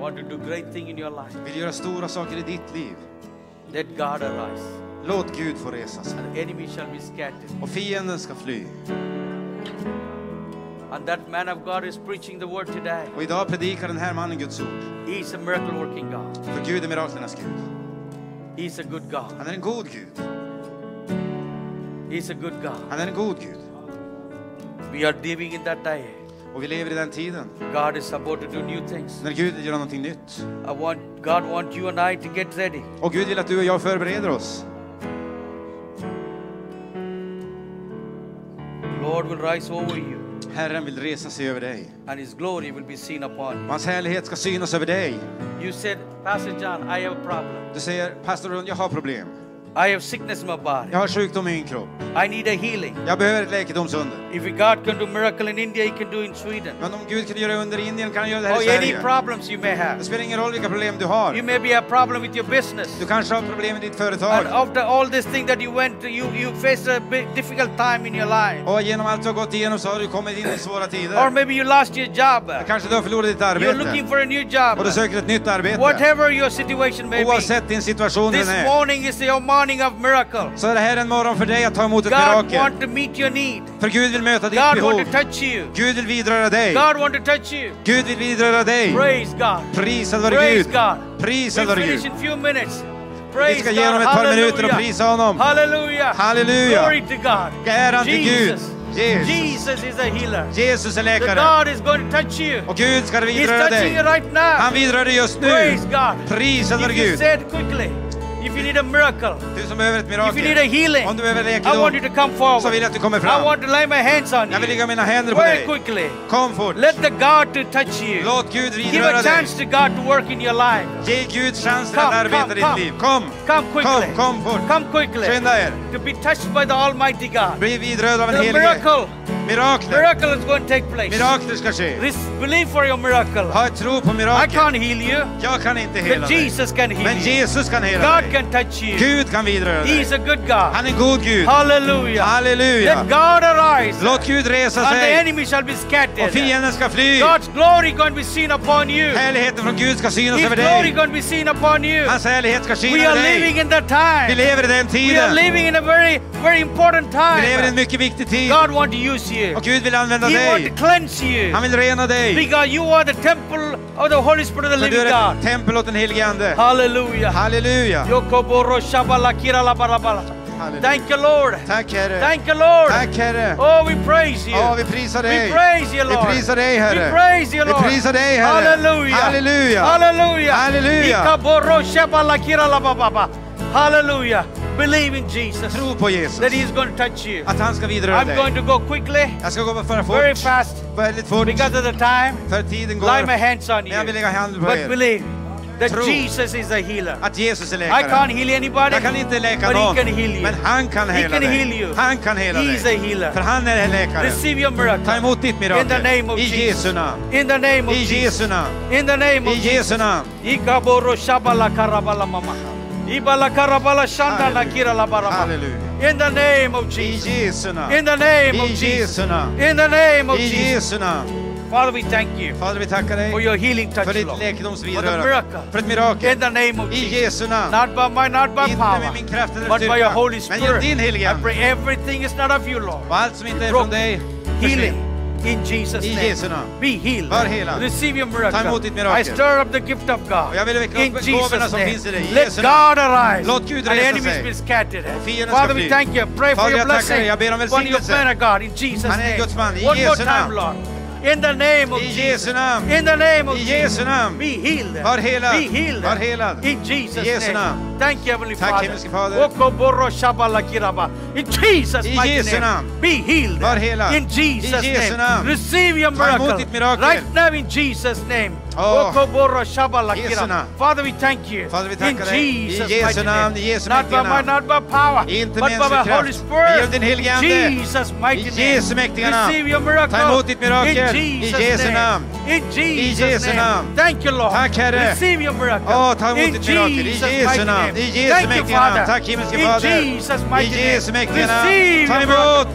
want to do great thing in your life. vill göra stora saker i ditt liv. Let God arise, Låt Gud få resa sig. and the enemy shall be scattered. Och fienden ska fly. And that man of God is preaching the word today. Och idag predikar den här mannen Guds ord. He's a miracle working God. För Gud är miraklernas Gud. He's a good God. Han är en god Gud. He's a good God. Han är en god Gud. We are living in that day. Och vi lever i den tiden God is about to do new things. när Gud vill göra någonting nytt. I want God want you and I to get ready. Och Gud vill att du och jag förbereder oss. The Lord will rise over you, Herren vill resa sig över dig. and His glory will be seen upon you. Och hans härlighet ska synas över dig. You said, Pastor John, I have a problem. Du säger, pastor Rund, jag har problem. I have sickness in my body. Jag har sjukdom i min kropp. I need a healing. Jag behöver ett läkedomsunder. If God can do miracle in India, He can do in Sweden. Men om Gud kan göra under i Indien kan han göra det här Or i any Sverige. problems you may Det have. spelar ingen roll vilka problem du You har. may be a problem with your business. Du kanske har problem med And ditt företag. after all this thing that you went through, you, you faced a big difficult time in your life. Och genom allt du har gått igenom så har du kommit in i svåra Or tider. maybe you lost your job. Kanske du har förlorat ditt You're looking arbete. for a new job. Och du söker ett nytt arbete. Whatever your situation may be. Oavsett din situation This den är. morning is your morning of miracle. Så är det här en morgon för dig att ta emot ett God mirakel. want to meet your need. För Gud vill möta ditt God want to behov. touch you. Gud vill vidröra dig. God want to touch you. Gud vill vidröra dig. Praise God. Prisad vare Praise Gud. God. Prisad We'll vare finish in Gud. few minutes. Vi Praise ska God. ge honom ett par minuter och prisa honom. Hallelujah. Halleluja. Glory to God. Äran till Gud. Jesus. Jesus. Jesus is a healer. Jesus är The läkare. God is going to touch you. Och Gud ska He's vidröra touching you dig. right now. Han vidrör dig just nu. Praise God. Prisad vare If you Gud. said quickly, if you need a miracle, Du som behöver ett if you need a mirakel. healing, Om du behöver I want you to läkedom. come forward. så vill jag att du kommer fram. I want to lay my hands on Jag vill you. lägga mina händer på Very dig. quickly. Kom fort. Let the God to touch you. Låt Gud Give a vidröra dig. chance to God to work in your life. Ge Gud chansen Come, att arbeta come, i ditt come. liv. Kom. Come quickly. Kom, kom fort. Come quickly. Skynda er. To be touched by the Almighty God. Bli vidrörd av en The helig miracle Mirakler! Miracle is going to take place. Mirakler ska ske. Re- believe for your miracle. Ha tro på I mirakel. can't heal you, Jag kan inte hela but dig. Jesus can Men heal you. Jesus kan hela God dig. can touch you. Gud kan vidröra dig. He's a good God. Han är en god Gud. Hallelujah. Let Halleluja! God arise, Låt and Gud resa the sig enemy shall be och scattered. fienden ska fly. God's glory going to be seen upon you. Härligheten från Gud ska synas His över glory dig. going to be seen upon you. Hans härlighet ska skina We are över dig. living in that Vi time. lever i den We are tiden. living in a very, very important Vi lever i en time. mycket viktig tid. God want to use you. Och Gud vill använda He want to dig. cleanse you. Han vill rena dig. Because you are the temple of the Holy Spirit of the För du living är ett God. tempel åt den helige Ande. Hallelujah. Halleluja! Yokoboro shabala kirala barabala. Halleluja. Thank you, Lord. Tack Herre. Thank you, Lord. Tack Herre. Oh, we praise you. Ja, vi prisar dig. We praise you, Vi Lord. prisar dig Herre. We praise you, Vi Lord. prisar dig Herre. Halleluja. Halleluja. Halleluja. Halleluja. Ikaboro shabala kirala bababa. Halleluja. Believe in Jesus. Tro på Jesus. That he's going to touch you. Att han ska vidröra I'm going dig. to go quickly, Jag ska gå för very fort. fast, Väldigt fort. because of the time. För tiden Lay my går. hands on Men you. jag vill lägga handen på But er. believe that Tro. Jesus is a healer. Att Jesus är I can't läkaren. heal anybody. Jag kan inte läka but någon. he can heal you. Men han kan He hela can heal dig. you. Han kan hela He is a dig. För healer. han är läkaren. Receive your miracle. Ta emot ditt In the name mirakel. of I Jesus. Jesu namn. In the name of I Jesus. Jesu namn. In the name of I Jesu namn. Ikaboro shabala karabala mama. Ibala karabala shanda Halleluja. nakira la baraba. Halleluja. In the name of I Jesus. Jesu namn. In the name of I Jesus. Jesu namn. In the name of I Jesus. Jesu namn. Father, we thank you Fader, vi tackar for dig your healing touch, för ditt Lord. läkedomsvidrörande. For the miracle. För ett mirakel. In the name of I Jesus. Jesu namn. Not by my, not by Inte power, med min kraft eller but by your styrka. Holy Men genom Spirit. din helige I pray Ande. everything is not of you, Lord. Och allt som inte är Brock. från dig, Healing försvinn. in Jesus' I name. Jesu namn. Be healed. Var helad. Receive your miracle. Ta emot ditt mirakel. I stir up the gift of God. Och jag vill väcka in upp gåvorna Jesus' som finns i dig. name. I Let Jesu God arise. Låt Gud and resa enemies sig. be scattered. fienden ska Father, we fly. thank you. Pray for Fader, your jag tackar dig. blessing. Jag ber om upon your välsignelse. man of God. In Jesus' Han är name. Guds man. I One more Jesu time, namn. Lord. In the name of I Jesus. Jesu namn. In the name of I Jesu namn. Be healed. Var helad. Be healed. Var helad. In Jesus' I Jesu name. namn. Thank you, Heavenly Tack, Father. himmelske Fader. Okoboro shabala kiraba. In Jesus' I mighty Jesu name. namn. Be healed. Var helad. In Jesus' I name. Jesu namn. Receive your Ta emot miracle. ditt mirakel. Right now in Jesus' name. Åh. Okoboro shabala Jesu kiraba. namn. Father, we thank you. Fader, vi in tackar dig. I Jesus' Jesu mighty namn, i name. Jesu Not by mäktiga might, not namn. by power, Inte but med by ens the kraft. Holy Spirit. Genom din helige Ande. Jesus' mighty I name. Jesu mäktiga namn. Receive your miracle. Ta emot ditt In mirakel. I Jesus' Jesu name. namn. In Jesus' Jesu name. Oh, namn. Thank you Lord. Tack, Herre. Receive your miracle. Åh, ta emot In ditt mirakel. I Jesus' Jesu mighty namn. name. I Jesu Thank you, mäktiga namn. Fader. Tack himmelske In Fader. Jesus' mighty I Jesu name. mäktiga namn. Receive Ta your emot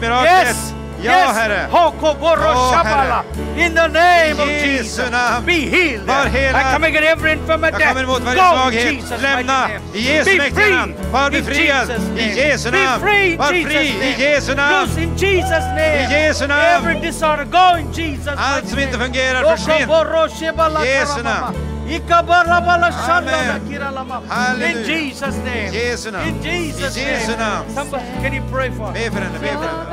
miracle. miraklet. Yes. Ja, yes. Herre. Hokoboro Åh, shabala. In the name I of Jesu Jesus. namn. Be healed. Var helad. I come against every infirmity. Jag kommer emot varje Go, svaghet. Jesus' Lämna mighty name. i Jesu Be mäktiga free. namn. Var In befriad Jesus' name. i Jesu Be namn. free in Var Jesus' fri name. i Jesu namn. Loose in Jesus name. I Jesu namn. Every disorder, go in Jesus Allt mighty som inte name. fungerar, försvinn. Lokoboro shebala Jesu karababa. namn. Ikabarabala shandala Amen. kiralama. In Halleluja. Jesus name. Jesu namn. In Jesus I Jesu namn. name. Somebody, can you pray for? Be för henne, be för henne.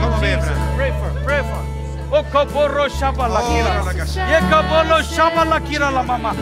Kom och be för Jesus, henne. pray for, pray for. Okoboro shabala Åh, kiralama. Jesus. Yekabolo shabala kiralama.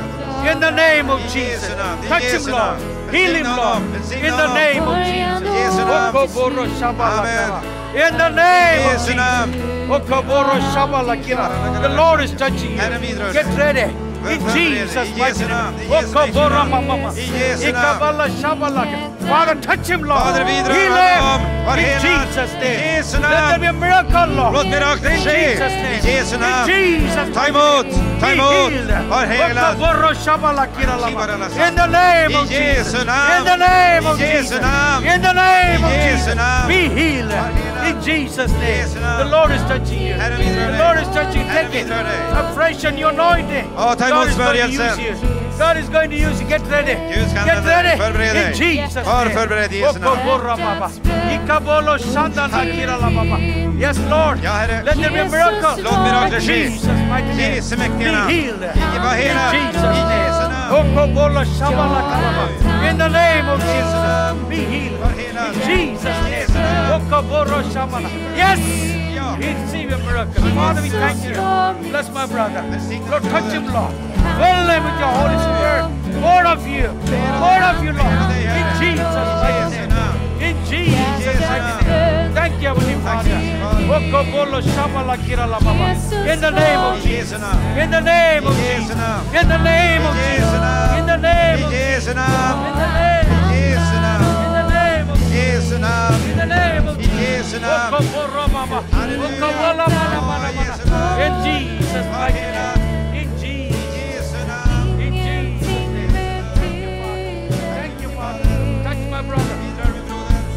In the name of I Jesus. Jesu namn, i Touch him, Jesu Lord. namn. Heal him, Välsigna Lord. honom, välsigna In the honom. name of Jesus. I Jesu namn. Okoboro shabala Amen. kara. In the name I of Jesu Jesus. namn. Okoboro shabala kira. The Lord is touching you. Herren vidrör Get dig. ready. In Välkommen redan. Jesus' I mighty Jesu name. namn. I Jesu mäktiga Okoboro namn. mama. I Jesu namn. Ikabala shabala kira. Father, touch him, Lord. Fader, vidrör Heal honom. Var him. In helad. Jesus' I name. Jesu Let there namn. be a miracle, Lord. Låt miraklet In ske. Jesus' name. I Jesu namn. In Jesus' Ta name. emot, ta Be emot. healed. Var helad. Okoboro shabala kira Kibarala lama. shabala. In the name I of Jesus. Jesu namn. In the name of I Jesu Jesus. namn. In the name I of Jesu Jesus. namn. Be healed. helad. In Jesus' name. Jesu namn. The Lord is touching you. Herren vidrör The dig. Lord is touching. Herren Take it. vidrör dig. Afresh on your anointing. Ja, ta God emot is going to use smörjelsen. you. God is going to use you. Get ready. Gud ska Get använda dig. ready. Förbered In dig. Jesus' Var name. förberedd i Jesu namn. Okoborra, baba. Ikabolo shandana kirala, baba. Yes, Lord. Ja, Herre. Let there be a miracle. Låt mirakler ske. Jesus mighty name. Jesu mäktiga Be namn. healed. I- var In helad. Jesus' I Jesu name. namn. Okoborra, shabala, kalaba. In the name of Jesus. Be healed. Var helad. In Jesus' I name. Jesu namn. Okoborra, shabala. Yes. Ja. Receive a miracle. Father, we thank you. Bless my brother. Välsigna Lord, min touch bröder. him, Lord. Fill him with your Holy Spirit. More of you. More of you, Lord. In Jesus' mighty name. In Jesus' mighty name. Thank you, Heavenly Father. Okobolo shabala kirala baba. In the name of I Jesus. Jesu namn. In the name of I Jesu Jesus. namn. In the name of I Jesu Jesus. namn. In the name of I Jesus. Jesu namn. In the name. I Jesu namn. In the name of I Jesu namn. In the name of I Jesu namn. Okoboro baba. Halleluja. Okobolo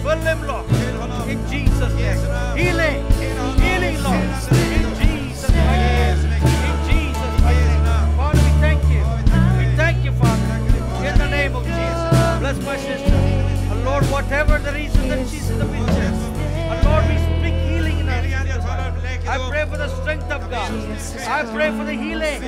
in Jesus' name. Healing, healing, Lord, in Jesus' mighty name. In Jesus' mighty name. Father, we thank you. We thank you, Father, in the name of Jesus. Bless my sister. And Lord, whatever the reason that she's in the wheelchair, and Lord, we speak healing in her. I pray for the strength of God. I pray for the healing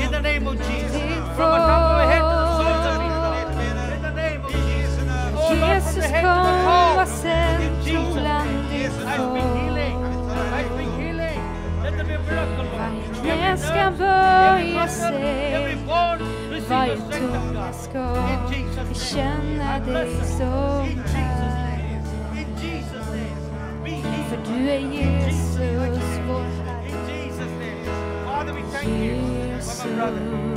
in the name of Jesus. From the top of her head to the soles of her feet. In the name of Jesus. Oh Lord, from the Jesus head to the kom och toes. sänd In till Jesus' name. I speak healing. I speak healing. Let there be a miracle, Lord. Every Varje knä ska nerve, every böja muscle, every bone sig, receive varje the strength of tunga God. ska In Jesus' name. bekänna dig Bless her. som In Jesus' är. name. In Jesus' name. Be healed. För du är Jesus, vår Herre. In Jesus' name. Father, we thank you for my brother.